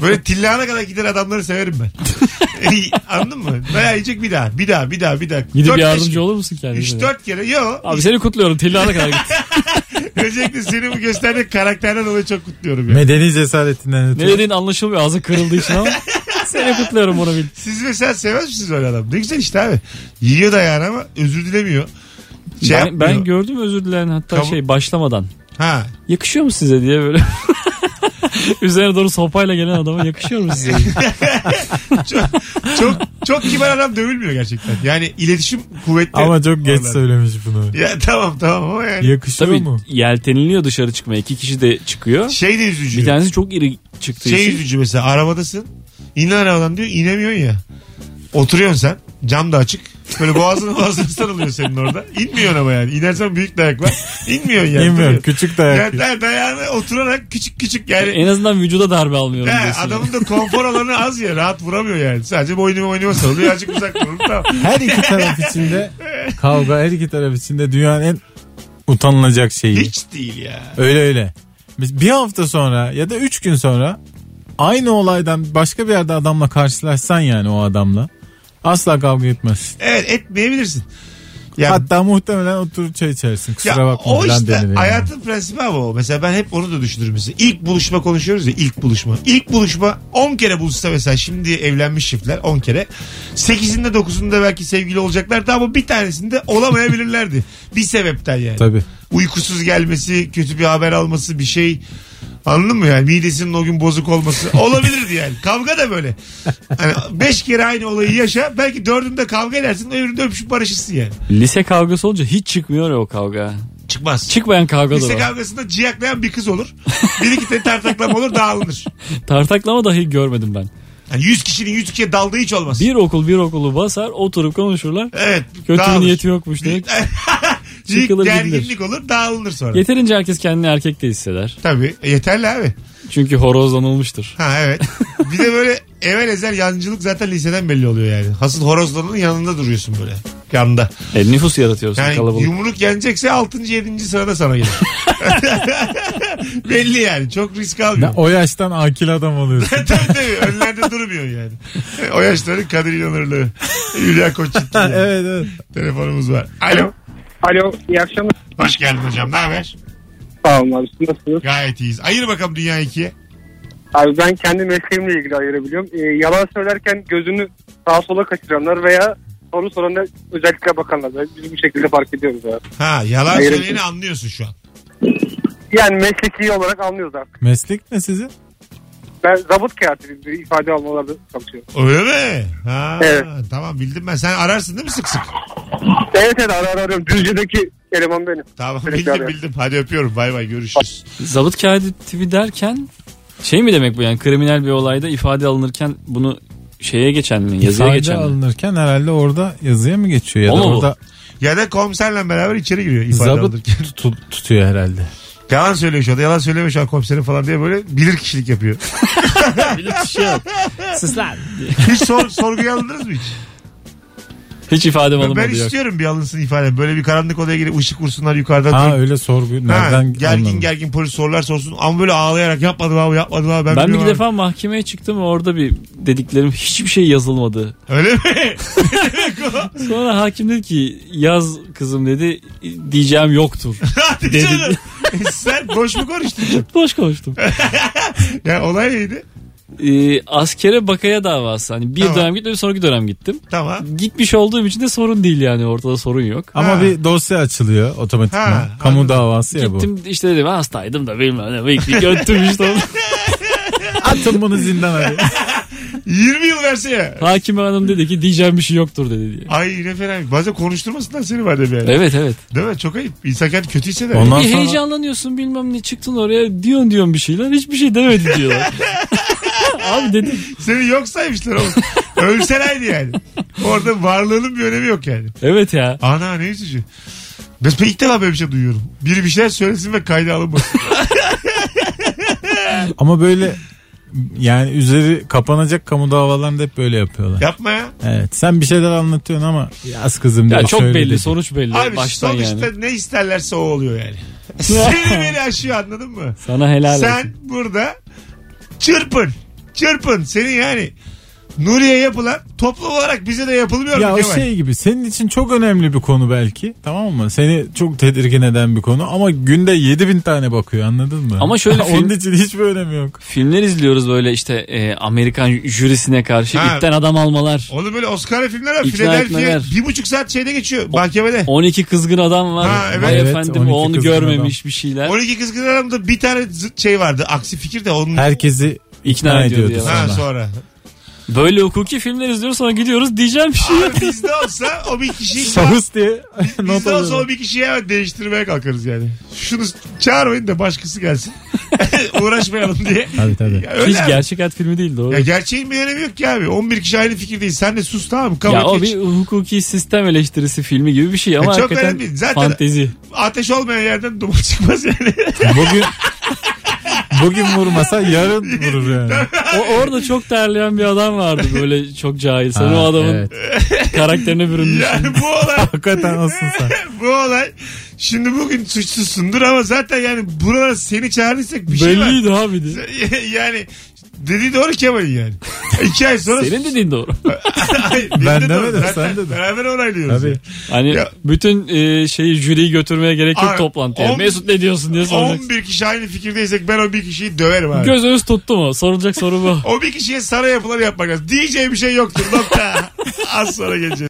Böyle tillahına kadar gider adamları severim ben. [LAUGHS] Anladın mı? Dayağı yiyecek bir daha. Bir daha bir daha bir daha.
Gidip yardımcı olur musun kendine?
3-4 kere. Yo. [LAUGHS]
Abi seni kutluyorum. Tillahına kadar git.
Öncelikle seni bu gösterdiğin karakterden dolayı çok kutluyorum. Ya.
Medeni cesaretinden
Ne
ötürü.
dediğin anlaşılmıyor ağzı kırıldığı
[LAUGHS]
için ama seni kutluyorum bunu bil.
Siz mesela sevmez misiniz öyle adam? Ne güzel işte abi. Yiyor da yani ama özür dilemiyor. Şey
ben,
yapmıyor.
ben gördüm özür dileyen hatta
Tamam.
şey başlamadan.
Ha.
Yakışıyor mu size diye böyle. [LAUGHS] Üzerine doğru sopayla gelen adama yakışıyor mu size?
Çok, çok, çok kibar adam dövülmüyor gerçekten. Yani iletişim kuvvetli.
Ama çok geç
Vallahi.
söylemiş bunu.
Ya tamam tamam ama yani.
Yakışıyor
Tabii
mu?
yelteniliyor dışarı çıkmaya. İki kişi de çıkıyor.
Şey de üzücü.
Bir tanesi çok iri çıktığı
Şey
için.
üzücü mesela arabadasın. İn lan arabadan diyor inemiyorsun ya. Oturuyorsun sen. Cam da açık. Böyle boğazın [LAUGHS] boğazın sarılıyor senin orada. İnmiyorsun ama yani. İnersen büyük dayak var. İnmiyorsun yani.
Bilmiyorum.
Duruyorsun.
Küçük dayak.
Yani da- dayağını oturarak küçük küçük yani.
E, En azından vücuda darbe almıyorum
He,
diyorsun.
adamın da konfor alanı az ya rahat vuramıyor yani. Sadece boynuma boynuma sarılıyor azıcık uzak durun tamam.
Her iki taraf içinde [LAUGHS] kavga her iki taraf içinde dünyanın en utanılacak şeyi.
Hiç değil ya.
Öyle öyle. Biz bir hafta sonra ya da üç gün sonra aynı olaydan başka bir yerde adamla karşılaşsan yani o adamla asla kavga etmez.
Evet etmeyebilirsin. Ya,
Hatta muhtemelen oturur çay içersin. Kusura
ya
bakma
o
falan
işte
denir yani.
hayatın prensibi abi o. Mesela ben hep onu da düşünürüm mesela. İlk buluşma konuşuyoruz ya ilk buluşma. İlk buluşma 10 kere buluşsa mesela şimdi evlenmiş çiftler 10 kere. 8'inde 9'unda belki sevgili olacaklardı ama bir tanesinde
[LAUGHS]
olamayabilirlerdi. bir sebepten yani.
Tabii.
uykusuz gelmesi, kötü bir haber alması bir şey. Anladın mı yani? Midesinin o gün bozuk olması. Olabilirdi yani. Kavga da böyle. Hani beş kere aynı olayı yaşa. Belki dördünde kavga edersin. Öbüründe öpüşüp barışırsın yani.
Lise kavgası olunca hiç çıkmıyor ya o kavga.
Çıkmaz.
Çıkmayan kavga da
Lise
var.
kavgasında ciyaklayan bir kız olur. Bir iki tane tartaklam olur dağılınır.
Tartaklama dahi görmedim ben.
Yani yüz kişinin yüz kişiye daldığı hiç olmaz.
Bir okul bir okulu basar oturup konuşurlar.
Evet.
Kötü bir
dağılır.
niyeti yokmuş diye.
Bir
çıkılır
gerginlik olur dağılınır sonra.
Yeterince herkes kendini erkek de hisseder.
Tabii. E, yeterli abi.
Çünkü horozlanılmıştır.
Ha evet. Bir de böyle evvel ezel yancılık zaten liseden belli oluyor yani. Hasıl horozlarının yanında duruyorsun böyle. Yanda.
E, nüfus yaratıyorsun
Yani
kalabalık.
yumruk yenecekse 6. 7. sırada sana
[LAUGHS]
gelir. [LAUGHS] belli yani. Çok risk
Ya
almıyor.
o yaştan akil adam
[LAUGHS]
oluyorsun.
tabii tabii. Önlerde durmuyor yani. [LAUGHS] O yaşların Kadir İnanırlığı. Hülya Koçitli. yani.
[LAUGHS] evet evet.
Telefonumuz var. Alo.
Alo iyi akşamlar.
Hoş geldin hocam. Ne haber?
Sağ olun abi siz nasılsınız?
Gayet iyiyiz. Ayır bakalım dünya ikiye.
Abi ben kendi mesleğimle ilgili ayırabiliyorum. Ee, yalan söylerken gözünü sağa sola kaçıranlar veya soru soranlar özellikle bakanlar. Ben- Biz bu şekilde fark ediyoruz abi.
Ha yalan
Hayır.
söyleyeni anlıyorsun şu an.
Yani mesleki olarak anlıyoruz artık.
Meslek ne sizin?
Ben zabıt kağıtı bir ifade almalarda çalışıyorum.
Öyle mi? Ha,
Evet.
Tamam bildim ben. Sen ararsın değil mi sık sık?
Evet evet ara ara arıyorum. Düzce'deki eleman benim.
Tamam
Sürekli
bildim
arıyorum.
bildim. Hadi öpüyorum. Bay bay görüşürüz.
Zabıt kağıdı tipi derken şey mi demek bu yani kriminal bir olayda ifade alınırken bunu şeye geçen mi yazıya
İfade
geçen [LAUGHS] mi?
alınırken herhalde orada yazıya mı geçiyor ya da
O mu bu?
orada
Ya da komiserle beraber içeri giriyor ifade
zabıt
alırken.
tut- tutuyor herhalde.
Yalan söylüyor şu anda. Yalan söylemiyor şu an komiserim falan diye böyle bilir kişilik yapıyor.
şey Sus lan.
Hiç sor, [LAUGHS] sorguya alındınız mı hiç?
Hiç ifadem
Ben,
alınmadı yok.
istiyorum bir alınsın ifade. Böyle bir karanlık odaya girip ışık vursunlar yukarıdan.
Ha
Direkt-
öyle sorgu
Ha,
nereden
gergin
anladın?
gergin polis sorular sorsun ama böyle ağlayarak yapmadım abi yapmadım abi. Ben,
Ben bir
biliyorum abi.
defa mahkemeye çıktım orada bir dediklerim hiçbir şey yazılmadı.
Öyle mi? [LAUGHS]
Sonra hakim dedi ki yaz kızım dedi diyeceğim
[LAUGHS]
yoktur.
Hadi
Dedi.
canım. E, Sen boş mu konuştun?
Boş konuştum.
Ya olay neydi?
Ee, askere bakaya davası hani bir
Tamam.
dönem gittim sonraki dönem gittim.
Tamam.
Gitmiş olduğum için de sorun değil yani ortada sorun yok.
Ama
Ha.
bir dosya açılıyor otomatikman.
Ha,
Kamu
anladım.
davası ya bu.
Gittim işte dedim hastaydım da bilmem ne bıyık bir göttüm işte.
[LAUGHS] Atın bunu zindana.
20 yıl verse ya.
Hakime hanım dedi ki diyeceğim bir şey yoktur dedi diye.
Ay ne fena. Bazen konuşturmasınlar seni madem yani.
Evet evet.
Değil mi? Çok ayıp. İnsan kendini kötü hisseder.
Ondan
bir
sonra
heyecanlanıyorsun bilmem ne çıktın oraya diyorsun diyorsun bir şeyler hiçbir şey demedi
[LAUGHS]
diyorlar. Abi dedim.
Seni yok saymışlar oğlum. Ölselerdi yani. Orada varlığının bir önemi yok yani.
Evet ya.
Ana ne üzücü. Ben ben ilk defa böyle bir şey duyuyorum. Biri bir şeyler söylesin ve kayda alınmasın.
[LAUGHS] ama böyle yani üzeri kapanacak kamu davalarında hep böyle yapıyorlar.
Yapma ya.
Evet. Sen bir şeyler anlatıyorsun ama yaz kızım
Ya
diye
çok
şöyle
belli
dedi.
sonuç belli
Abi
baştan yani.
sonuçta ne isterlerse o oluyor yani. Seni beni aşıyor anladın mı?
Sana helal
Sen
olsun.
burada çırpın. Çırpın. Seni yani Nuriye yapılan toplu olarak bize de yapılmıyor
Ya
mu
o
Kemal?
şey gibi senin için çok önemli bir konu belki tamam mı? Seni çok tedirgin eden bir konu ama günde 7000 tane bakıyor anladın mı?
Ama
[LAUGHS]
şöyle şey-
Onun
film-
için hiçbir önemi yok.
Filmler izliyoruz böyle işte e, Amerikan jürisine karşı
Ha.
ipten adam almalar.
Onu böyle Oscar'lı filmler var.
İkna
Philadelphia
etmeler.
bir buçuk saat şeyde geçiyor mahkemede.
12 kızgın adam var.
Ha, evet.
Vay
Evet,
efendim
12
o onu
kızgın
görmemiş bir şeyler.
12 kız kız aramda bir tane zıt şey vardı. Aksi fikir de onun
Herkesi ikna,
İkna ediyor
ediyordu
diye.
ha,
sonra.
sonra.
Böyle hukuki filmler izliyoruz sonra gidiyoruz diyeceğim bir şey yok.
Abi bizde olsa o bir kişiyi
Şahıs diye not
bizde olsa o
alıyorum.
bir kişiyi hemen değiştirmeye kalkarız yani. Şunu çağırmayın da başkası gelsin. [LAUGHS] Uğraşmayalım diye.
Tabii tabii.
Ya öyle
Hiç
abi.
gerçek hayat filmi değil doğru.
Ya
Ya,
gerçeğin bir önemi yok ki abi. 11 kişi aynı fikirdeyiz. Sen de sus tamam mı? Kabul
o
et geç.
bir hukuki sistem eleştirisi filmi gibi bir şey ama
çok
hakikaten
önemli değil. Zaten- [LAUGHS]
fantezi.
Ateş olmayan yerden duman [LAUGHS] çıkmaz yani.
[LAUGHS] Bugün bugün vurmasa yarın vurur yani.
O orada çok terleyen bir adam vardı böyle çok cahil. Sen
Ha,
o adamın
evet.
karakterine bürünmüş.
yani bu olay
Hakikaten olsun sen.
bu olay şimdi bugün suçsuzsundur ama zaten yani buralara seni çağırdıysak bir şey var. [LAUGHS]
Belliydi abi de.
yani dediği doğru Kemal'in
[LAUGHS]
yani. İki ay sonra
Senin dediğin doğru. [LAUGHS]
Hayır,
Ben
benim de doğru.
demedim,
Zaten
sen dedin.
Beraber onaylıyoruz.
Tabii.
yani.
Hani
Ya-
bütün e, şeyi jüriyi götürmeye gerek yok
Abi,
toplantıya.
on-
Mesut ne diyorsun diye soracaksın.
11 kişi aynı fikirdeysek ben o bir kişiyi döverim abi.
Göz önüz tuttu mu? Sorulacak soru bu. [LAUGHS]
O bir kişiye sana yapılanı yapmak lazım. Diyeceği bir şey yoktur nokta. Az sonra geleceğiz.